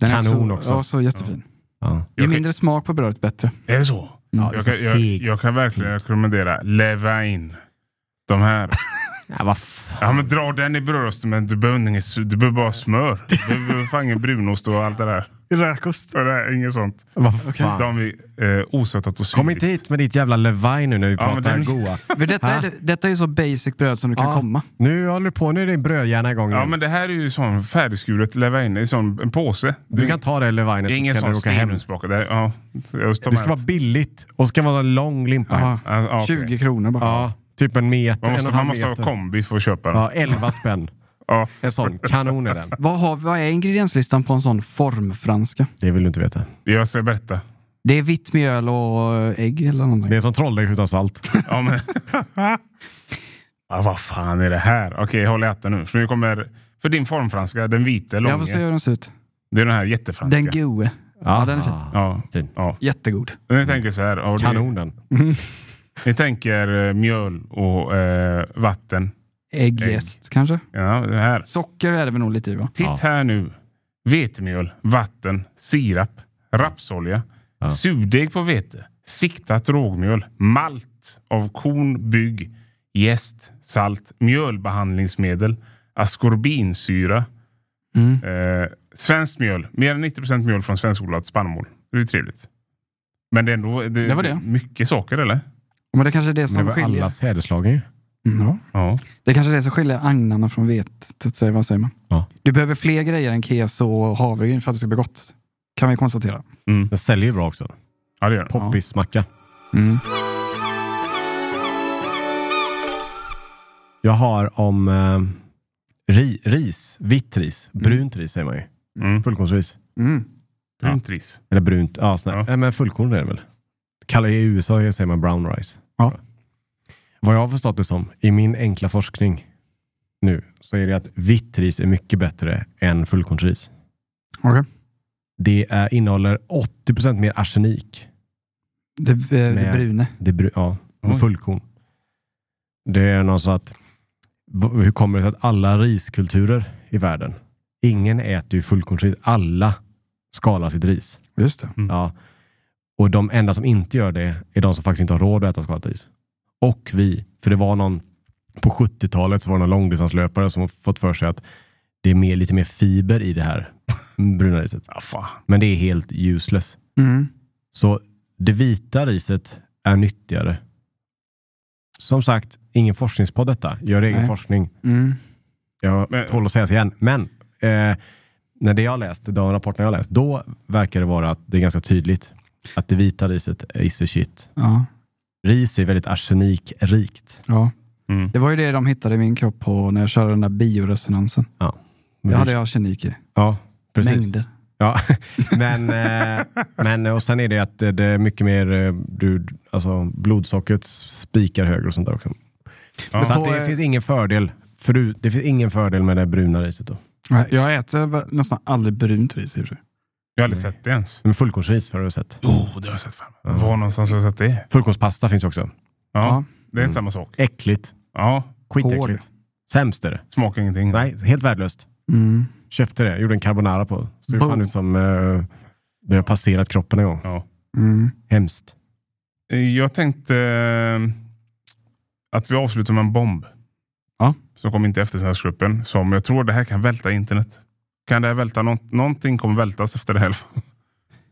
C: Den
B: Kanon
C: är
B: också.
C: också. Ja, så jättefin.
B: Ja.
C: Ju
A: Jag kan-
C: mindre smak på brödet, bättre.
A: Är det så?
B: Ja,
A: jag, kan, jag, jag kan verkligen rekommendera Levain. De här.
B: Ja, vad fan.
A: Ja, men dra den i brödrosten, men du behöver, inget, su- du behöver bara smör. Du behöver fan ingen brunost och allt det där. Räkost? Nej, inget sånt.
B: Vad fan.
A: De är eh, osötat och syrligt.
B: Kom inte hit med ditt jävla Levine nu när vi
A: Ja, men
B: pratar
A: den-
B: goa.
C: För detta, är, det- detta är ju så basic bröd som du kan
B: Ja.
C: komma.
B: Nu håller du på, nu är din brödhjärna igång
A: Ja,
B: igen.
A: men det här är ju sån färdigskuret Levain. Det är sån, en påse.
B: Du kan ta det
A: det är
B: Levinet
A: ingen
B: så kan
A: sån
B: du åka hem.
A: stenugnsbaka. Det, ja, jag tar
B: Det ska
A: med.
B: vara billigt och ska vara en lång limpa.
C: Jaha.
B: helst.
A: Alltså, ja, okej.
C: 20 Ah. kronor bara.
B: Ja, typ en meter.
A: Man
B: en och
A: måste,
B: en halv
A: man måste ha
B: meter.
A: kombi för att köpa den.
B: Ja, 11 spänn.
A: Ja.
B: En sån. Kanon är den.
C: Vad, har, vad är ingredienslistan på en sån formfranska?
B: Det vill du inte veta.
A: Jag ska berätta.
C: Det är vitt mjöl och eh, ägg eller någonting.
B: Det är som trolldeg utan salt.
A: Ja, men... ja, vad fan är det här? Okej, håll i hatten nu. För nu kommer... För din formfranska, den vita
C: jag får se
A: långa.
C: hur den ser ut.
A: Det är den här jättefranska.
C: Den goe. Ja, den är fin.
B: Aha.
A: Ja.
B: Fin.
A: ja.
C: Jättegod.
A: Ni tänker så här. Ja, det-
B: Kanon den.
A: Ni tänker eh, mjöl och eh, vatten.
C: Äggjäst kanske?
A: Ja, det här.
C: Socker är det väl nog lite i va?
A: Titt
B: Ja.
A: här nu. Vetemjöl, vatten, sirap, rapsolja,
B: Ja.
A: surdeg på vete, siktat rågmjöl, malt av korn, bygg, jäst, salt, mjölbehandlingsmedel, askorbinsyra,
C: Mm.
A: eh, svenskt mjöl. Mer än 90 mjöl från svenskodlat spannmål. Det är ju trevligt. Men det är ändå det,
C: Det var det.
A: mycket saker, eller?
C: Men det kanske är det
B: Men
C: som
B: det var
C: skiljer.
B: allas häderslagen ju.
C: Mm, ja.
A: Ja.
C: Det kanske är det som skiljer agnarna från vetet. säger- Vad säger man?
B: Ja.
C: Du behöver fler grejer än keso och havregryn för att det ska bli gott. Kan vi konstatera.
A: Mm.
B: Den säljer ju bra också.
A: ja, det gör det.
B: Poppismacka.
C: Mm.
B: Jag har om eh, ri, ris, vitt ris, brunt ris säger man ju.
A: Mm.
B: Fullkornsris.
C: Mm.
A: Brunt ris.
B: Eller brunt, ja, sån här.
A: Ja.
B: Nej, men fullkorn är det väl? Kallar I USA säger man brown rice.
C: Ja.
B: Vad jag har förstått det som, i min enkla forskning nu, så är det att vitt ris är mycket bättre än fullkornsris.
C: Okej.
B: Det är, innehåller 80% mer arsenik.
C: Det, eh, det
B: Nej.
C: brune.
B: Det bru- ja, och
A: Oj.
B: fullkorn. Det är något så att, v- hur kommer det sig att alla riskulturer i världen, ingen äter ju fullkornsris. Alla skalar sitt ris.
C: Just det.
A: Mm.
B: Ja. Och de enda som inte gör det är de som faktiskt inte har råd att äta skalat ris. Och vi, för det var någon, på 70-talet så var det någon långdistanslöpare som har fått för sig att det är mer, lite mer fiber i det här bruna riset.
A: Ja, fan.
B: Men det är helt useless.
C: Mm.
B: Så det vita riset är nyttigare. Som sagt, ingen forskningspodd detta. Gör egen
C: Nej.
B: forskning.
C: Mm.
B: Jag
A: Men-
B: tål att sägas igen. Men eh, när det jag läst, de rapporterna jag läst, då verkar det vara att det är ganska tydligt att det vita riset is a shit.
C: Ja.
B: Ris är väldigt arsenikrikt.
C: ja.
A: Mm.
C: Det var ju det de hittade i min kropp på när jag körde den där bioresonansen. Det hade jag arsenik i.
B: Ja, precis.
C: Mängder.
B: Ja, men, eh, men och sen är det att det det är mycket mer, eh, du, alltså blodsockret spikar högre och sånt där också.
A: Ja.
B: Så att
C: På,
B: det
C: eh,
B: finns ingen fördel, förut, det finns ingen fördel med det bruna riset då.
C: Nej, Jag äter väl nästan aldrig brunt ris i och för sig.
A: Jag har aldrig sett det ens.
B: Men fullkornsris har du sett.
A: Jo, Oh, det har jag sett. Fan. Var någonstans har jag sett det?
B: Fullkornspasta finns också.
A: Ja, Mm.
C: Ja.
A: Det är inte samma sak.
B: Äckligt.
A: Ja,
B: Skitäckligt. Sämst är det.
A: smakar ingenting.
B: Nej, helt värdelöst.
C: Mm.
B: Köpte det, gjorde en carbonara på. Såg fan
C: Boom.
B: ut som eh, det har passerat kroppen en gång.
A: Ja.
C: Mm.
B: Hemskt.
A: Eh, Jag tänkte eh, att vi avslutar med en bomb.
C: Ja.
A: Som kom inte efter gruppen. Som jag tror det här kan välta internet. Kan det här välta nå- Någonting kommer vältas efter det här. i alla fall.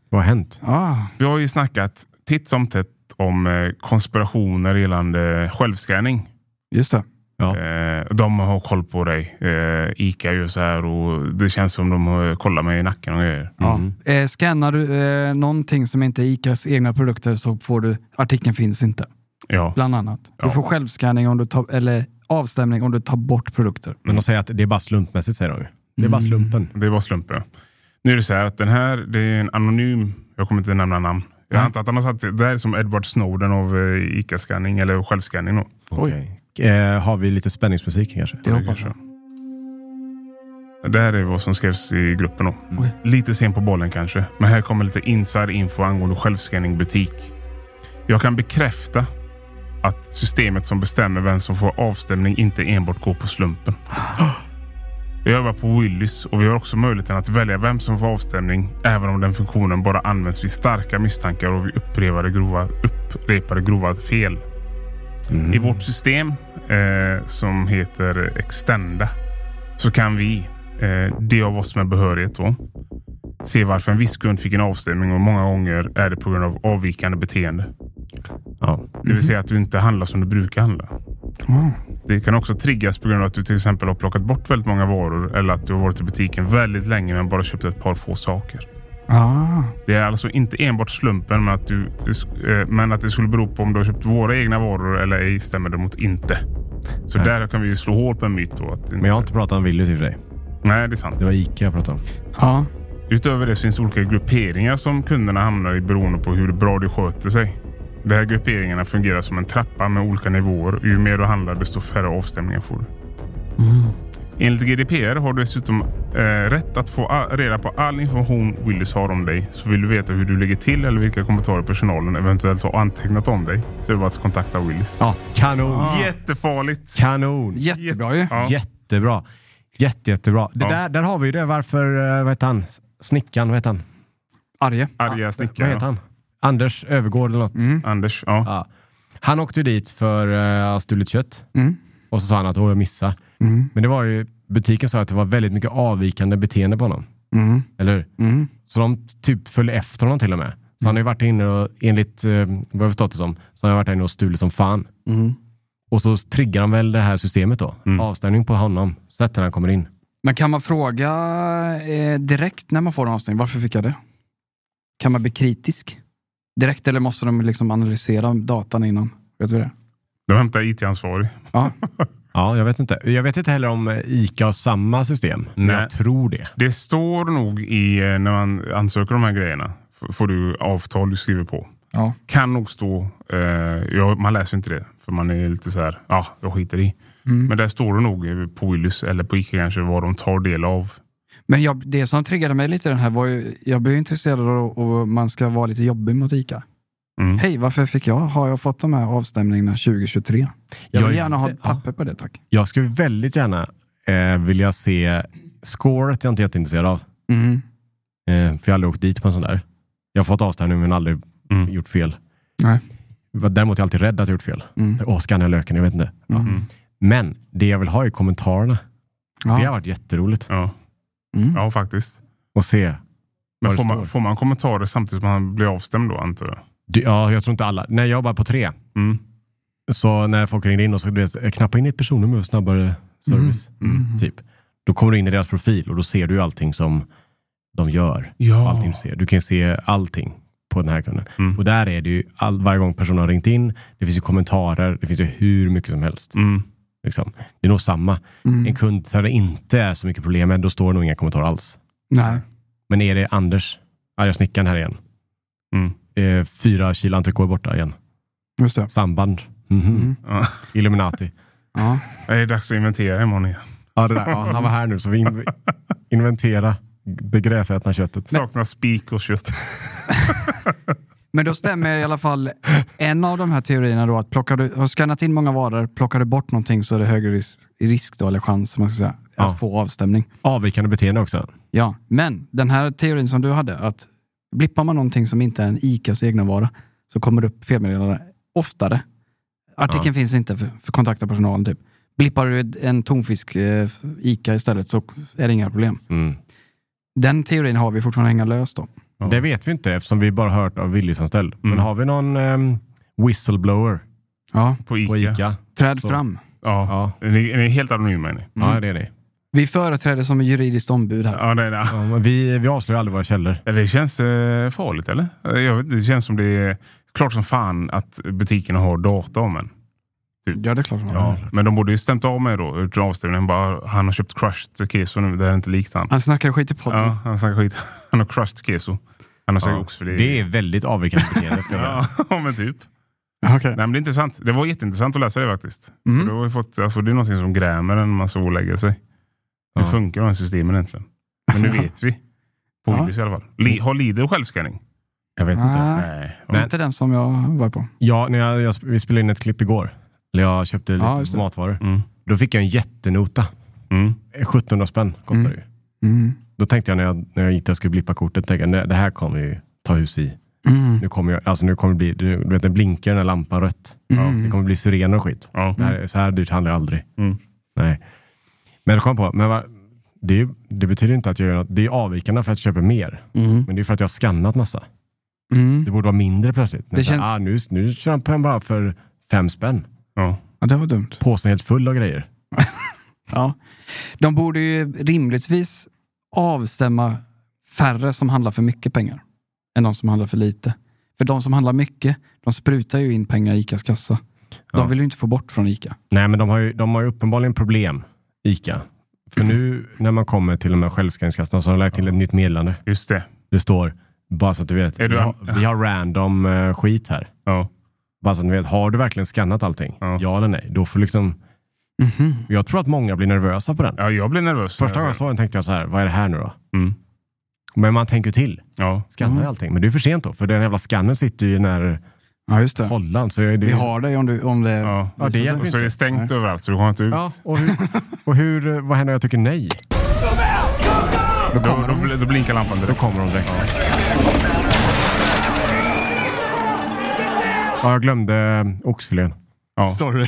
B: Vad har hänt?
C: Ah.
A: Vi har ju snackat titt som tätt om eh, konspirationer gällande självskanning.
C: Just det.
A: Eh, de har koll på dig. Eh, Ica gör så här och det känns som de har- kollar mig i nacken och grejer. Mm.
C: Eh, scannar du eh, någonting som inte är ICAs egna produkter så får du, artikeln finns inte.
A: Ja.
C: Bland annat.
B: Ja.
C: Du får självscanning om du tar, eller avstämning om du tar bort produkter.
B: Men de säger att det är bara slumpmässigt, säger de ju. Det är bara slumpen.
A: Det är bara slumpen. Nu är det så här att den här, det är en anonym, jag kommer inte nämna namn. Jag antar att han har satt det där är som Edward Snowden av eh, ICA-scanning eller självscanning. Då.
B: Okej. Eh, har vi lite spänningsmusik kanske?
A: Det hoppas jag. Det här är vad som skrevs i gruppen då. Lite sen på bollen kanske, men här kommer lite inside info angående självscanning butik. Jag kan bekräfta att systemet som bestämmer vem som får avstämning inte enbart går på slumpen. Vi övar på Willys och vi har också möjligheten att välja vem som får avstämning även om den funktionen bara används vid starka misstankar och vid upprepade grova, upprepade grova fel. I vårt system eh, som heter Extenda så kan vi, eh, de av oss med behörighet, då, se varför en viss kund fick en avstämning och många gånger är det på grund av avvikande beteende. Det vill säga att du inte handlar som du brukar handla. Det kan också triggas på grund av att du till exempel har plockat bort väldigt många varor eller att du har varit i butiken väldigt länge men bara köpt ett par få saker.
C: Ah.
A: Det är alltså inte enbart slumpen men att, du, eh, men att det skulle bero på om du har köpt våra egna varor eller ej stämmer däremot inte. Så där kan vi ju slå hål på en myt. Då, att men
B: jag har inte pratat om Willys i och för sig.
A: Nej, det är sant.
B: Det var Ica jag pratade om.
C: Ja.
A: Utöver det så finns olika grupperingar som kunderna hamnar i beroende på hur bra de sköter sig. De här grupperingarna fungerar som en trappa med olika nivåer och ju mer du handlar desto färre avstämningar får du.
B: Mm.
A: Enligt GDPR har du dessutom eh, rätt att få a- reda på all information Willys har om dig. Så vill du veta hur du ligger till eller vilka kommentarer personalen eventuellt har antecknat om dig så är det bara att kontakta Willys.
B: Ja, kanon.
A: Jättefarligt.
B: Kanon.
C: Jättebra ju.
A: Ah. Ja.
B: Jättebra. Jätte, jättebra. Det
A: Ja.
B: där, där har vi ju det. Varför, eh, vad heter han? Snickaren, vad heter han?
C: Arje.
A: Arga
B: Vad
A: snickaren. Mm.
B: heter han? Anders Övergård eller något.
A: Anders. Ja.
B: Ja. Han åkte ju dit för uh, stulet kött.
C: Mm.
B: Och så sa han att "Åh, jag missade.
C: Mm.
B: Men det var ju, butiken sa att det var väldigt mycket avvikande beteende på honom.
C: Mm.
B: Eller hur?
C: Mm.
B: Så de typ följde efter honom till och med. Så han har ju varit inne och, enligt eh, vad jag har förstått det som, så har han varit inne och stulit som fan.
C: Mm.
B: Och så triggar han väl det här systemet då. Avstängning på honom. Sätt när han kommer in.
C: Men kan man fråga eh, direkt när man får en avstängning, varför fick jag det? Kan man bli kritisk? Direkt eller måste de liksom analysera datan innan? Vet vi det?
A: De hämtar IT-ansvarig.
C: Ja.
B: Ja, jag vet inte. Jag vet inte heller om ICA har samma system. Men
A: Nej.
B: jag tror det.
A: Det står nog i, eh, när man ansöker om de här grejerna, f- får du avtal du skriver på.
C: Ja.
A: Kan nog stå, eh, jag, man läser inte det, för man är lite så här, ja, jag skiter i. Men där står det nog eh, på Willys eller på Ica kanske vad de tar del av.
C: Men jag, det som triggade mig lite i den här var ju, jag blev intresserad av och man ska vara lite jobbig mot ICA.
A: Mm.
C: Hej, varför fick jag, har jag fått de här avstämningarna 2023? Jag
B: Jag
C: vill
B: är
C: gärna ha
B: vä-
C: ett papper på det tack.
B: Jag skulle väldigt gärna eh, vilja se scoret jag inte är jätteintresserad av.
C: Mm.
B: Eh, för jag har aldrig åkt dit på en sån där. Jag har fått avstängning men aldrig
A: Mm.
B: gjort fel.
C: Nej.
B: Däremot är jag alltid rädd att jag gjort fel.
C: Mm.
B: Åh, skannar jag löken? Jag vet inte. Ja.
C: Mm.
B: Men det jag vill ha är kommentarerna. Det har
C: Ja.
B: varit jätteroligt
A: Ja,
C: Mm.
A: ja faktiskt.
B: att se. Vad
A: Men
B: det
A: får
B: står.
A: man, får man kommentarer samtidigt som man blir avstämd då antar jag?
B: Det- Ja, jag tror inte alla. Nej, jag var på tre.
A: Mm.
B: Så när folk ringde in och så du vet, knappa in ditt personnummer för snabbare service.
C: Mm.
B: Typ. Då kommer du in i deras profil och då ser du ju allting som de gör.
A: Ja.
B: Allting du, ser. du kan se allting på den här kunden.
A: Mm.
B: Och där är det ju all, varje gång personen har ringt in, det finns ju kommentarer, det finns ju hur mycket som helst.
A: Mm.
B: Liksom. Det är nog samma. En kund där det inte är så mycket problem med, då står det nog inga kommentarer alls.
C: Nej.
B: Men är det Anders, arga snickaren här igen,
A: Mm.
B: eh, fyra kilo entrecote borta igen,
C: Just det.
B: samband, Mhm.
C: Mm.
A: Ja.
B: Illuminati.
C: Ja.
A: Det är dags att inventera imorgon igen.
B: Ja, det där, ja, han var här nu, så vi in- inventera det gräsätna köttet.
A: Saknas spik och kött.
C: Men då stämmer i alla fall en av de här teorierna då att plockar du, har du skannat in många varor, plockar du bort någonting så är det högre risk, risk då, eller chans som man ska säga,
B: Ja.
C: att få avstämning.
B: Avvikande beteende också.
C: Ja, men den här teorin som du hade, att blippar man någonting som inte är en ICAs egna vara så kommer det upp felmeddelande oftare. Artikeln finns inte för, för kontakta personalen typ. Blippar du en tonfisk eh, ICA istället så är det inga problem.
A: Mm.
C: Den teorin har vi fortfarande inga löst då.
A: Ja.
B: Det vet vi inte eftersom vi bara hört av Willys-anställd. Men
A: Mm.
B: har vi någon ehm, whistleblower
C: Ja,
A: På Ica.
B: på ICA?
C: träd
B: Så.
C: fram.
A: Ja. Ni, ni är helt anonyma. är Ni.
B: Ja, det är det.
C: Vi företräder som ett juridiskt ombud här.
A: Ja, nej, nej.
B: vi, vi avslöjar aldrig våra källor.
A: Det känns eh, farligt, eller? Eh, Jag vet, det känns som det är klart som fan att butikerna har data om en.
C: Ja, det är klart.
A: Ja, men de borde ju stämt av mig då, utifrån avstämningen. Bara, han har köpt crushed keso nu, det här är inte likt
B: Ah,
A: han.
C: Han snackade skit i podden.
A: Ja, han snackar skit. Han har crushed keso. Han har sagt oxfilé.
B: Det är väldigt avvikande beteende. ska jag säga.
A: Ja, men typ. Nej,
C: Okay.
A: men det är intressant. Det var jätteintressant att läsa det faktiskt.
B: Mm.
A: För Det, har ju fått, alltså, det är någonting som grämer en när man så ålägger sig. Hur
B: Ja.
A: funkar de här systemen egentligen? Men nu vet vi. På
C: Ja.
A: Willys i alla fall. Li- har Lidl självskanning?
B: Jag vet inte.
C: Nej.
A: Nej.
C: Det var inte den som jag var på.
B: Ja, när jag, jag, sp- vi spelade in ett klipp igår. Eller jag köpte lite
C: Ja, just det.
B: matvaror.
A: Mm.
B: Då fick jag en jättenota.
A: Mm.
B: 1700 spänn kostar det ju.
C: Mm.
B: Då tänkte jag när jag, när jag gick där och skulle blippa kortet, tänkte jag, "Nej, det här kommer ju ta hus i.
C: Mm.
B: Nu kommer, jag, alltså nu kommer det bli, du du vet den blinkar den här lampan rött.
C: Mm.
B: Ja, det kommer bli syrener och skit.
A: Ja.
B: Det här, så här dyrt handlar jag aldrig.
A: Mm.
B: Nej. Men jag kom på, men va, det, är- det betyder inte att jag gör något. Det är avvikarna för att jag köper mer.
C: Mm.
B: Men det är för att jag har skannat massa.
C: Mm.
B: Det borde vara mindre plötsligt. Men
C: Det
B: så här,
C: känns-
B: ah, nu, nu köper jag bara för fem spänn.
A: Ja.
C: Ja, det var dumt.
B: Påsen är helt full av grejer.
C: Ja. De borde ju rimligtvis avstämma färre som handlar för mycket pengar än de som handlar för lite. För de som handlar mycket, de sprutar ju in pengar i ICAs kassa. De
B: Ja.
C: vill ju inte få bort från ICA.
B: Nej, men de har ju, de har ju uppenbarligen problem, ICA. För nu när man kommer till de här självskanningskassorna så har de lagt till ett nytt meddelande.
A: Just det.
B: Det står, bara så att du vet,
A: Är du-
B: vi, har, vi har random eh, skit här.
A: Ja.
B: Bara så att ni vet, har du verkligen skannat allting?
A: Ja.
B: Ja, eller nej? Då får liksom... Jag tror att många blir nervösa på den.
A: ja, jag blir nervös.
B: Första gången
A: när
B: jag
A: ser
B: såg den tänkte jag så här, vad är det här nu då?
A: den. Mm.
B: Men man tänker till.
A: Ja.
B: Skannar ju allting. Men det är för sent då, för den jävla skannern sitter ju i den här
C: Ja, just det. Alltså,
B: hållan. Så är det
C: Vi har dig om, du, om det...
A: Ja.
B: Ja, det hjälper
A: Och så är
B: inte.
A: det stängt överallt så du kommer inte ut.
B: Ja, och, hur, och hur, vad händer om jag tycker nej?
C: Då
A: Då,
C: kommer
A: då,
C: de.
A: bl- då blinkar lampan
B: Då
A: direkt.
B: kommer de direkt. Ja, jag glömde eh, oxfilén.
A: Ja.
B: Sorry.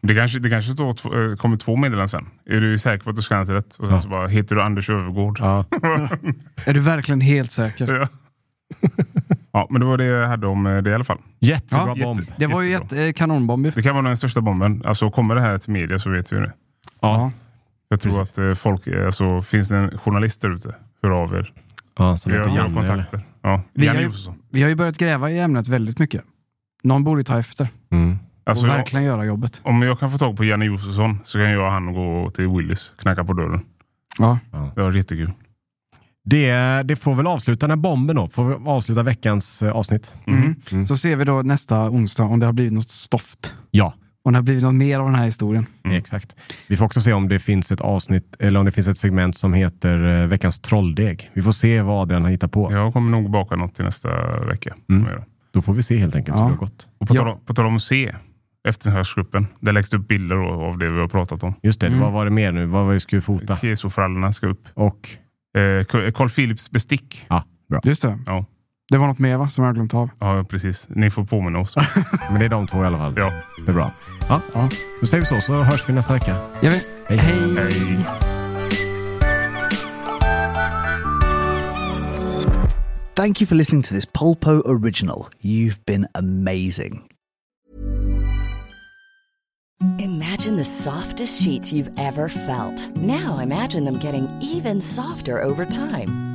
A: Det kanske, det kanske står två, eh, kommer två meddelanden sen. Är du säker på att du skannat rätt? Och sen
B: Ja.
A: så bara, heter du Anders Övergård?
B: Ja.
C: Är du verkligen helt säker?
A: Ja. ja, men det var det jag hade om eh, det i alla fall.
B: Jättebra
C: Ja,
B: bomb.
A: jätte-
C: Det var ju
A: jättebra.
C: jätte- eh, kanonbomb ju.
A: Det kan vara den största bomben. Alltså kommer det här till media så vet vi det.
B: Ja.
A: Jag tror att
B: Precis.
A: eh, folk, eh, alltså finns det en journalist där ute, hör av er.
B: ja så
A: Vi
B: det
A: har
B: heter
A: våra
B: Janne, eller?
A: kontakter. Ja.
C: Vi har
A: Janne
C: ju-
A: Josefsson.
C: Vi har ju börjat gräva i ämnet väldigt mycket. Någon borde ta efter
B: Mm.
A: Alltså,
C: och
A: jag,
C: verkligen göra jobbet.
A: om jag kan få tag på Janne Josefsson så kan jag och han gå till Willys, knacka på dörren.
C: Ja.
A: Det var jättekul.
B: Det, det får väl avsluta den här bomben då. Får vi avsluta veckans eh, avsnitt?
C: Mm. Så ser vi då nästa onsdag om det har blivit något stoft.
B: Ja,
C: Om det har blivit något mer av den här historien.
B: exakt. Vi får också se om det finns ett avsnitt eller om det finns ett segment som heter eh, veckans trolldeg. Vi får se vad Adrian har hittat på.
A: Jag kommer nog baka något till nästa vecka.
B: Mm. Då får vi se helt enkelt
C: Ja.
B: hur det har gått.
A: Och på,
C: Ja.
A: tal om, på tal om att se, efterhandsgruppen, där läggs det upp bilder då av det vi har pratat om.
B: Just det,
C: Mm.
B: vad var det mer nu? Vad var det vi skulle fota?
A: Kesofrallorna ska upp.
B: Och
A: Eh, Carl Philips bestick.
B: Ja, bra.
C: Just det.
A: Ja.
C: Det var något mer va, som jag har glömt av.
A: Ja, precis. Ni får påminna oss.
B: Men det är de två i alla fall.
A: ja.
B: Det är bra. Ja, ja. Då säger vi så, så hörs vi nästa vecka.
C: Jag vet.
B: Hej.
A: Hej.
K: Thank you for listening to this Polpo original. You've been amazing.
L: Imagine the softest sheets you've ever felt. Now imagine them getting even softer over time.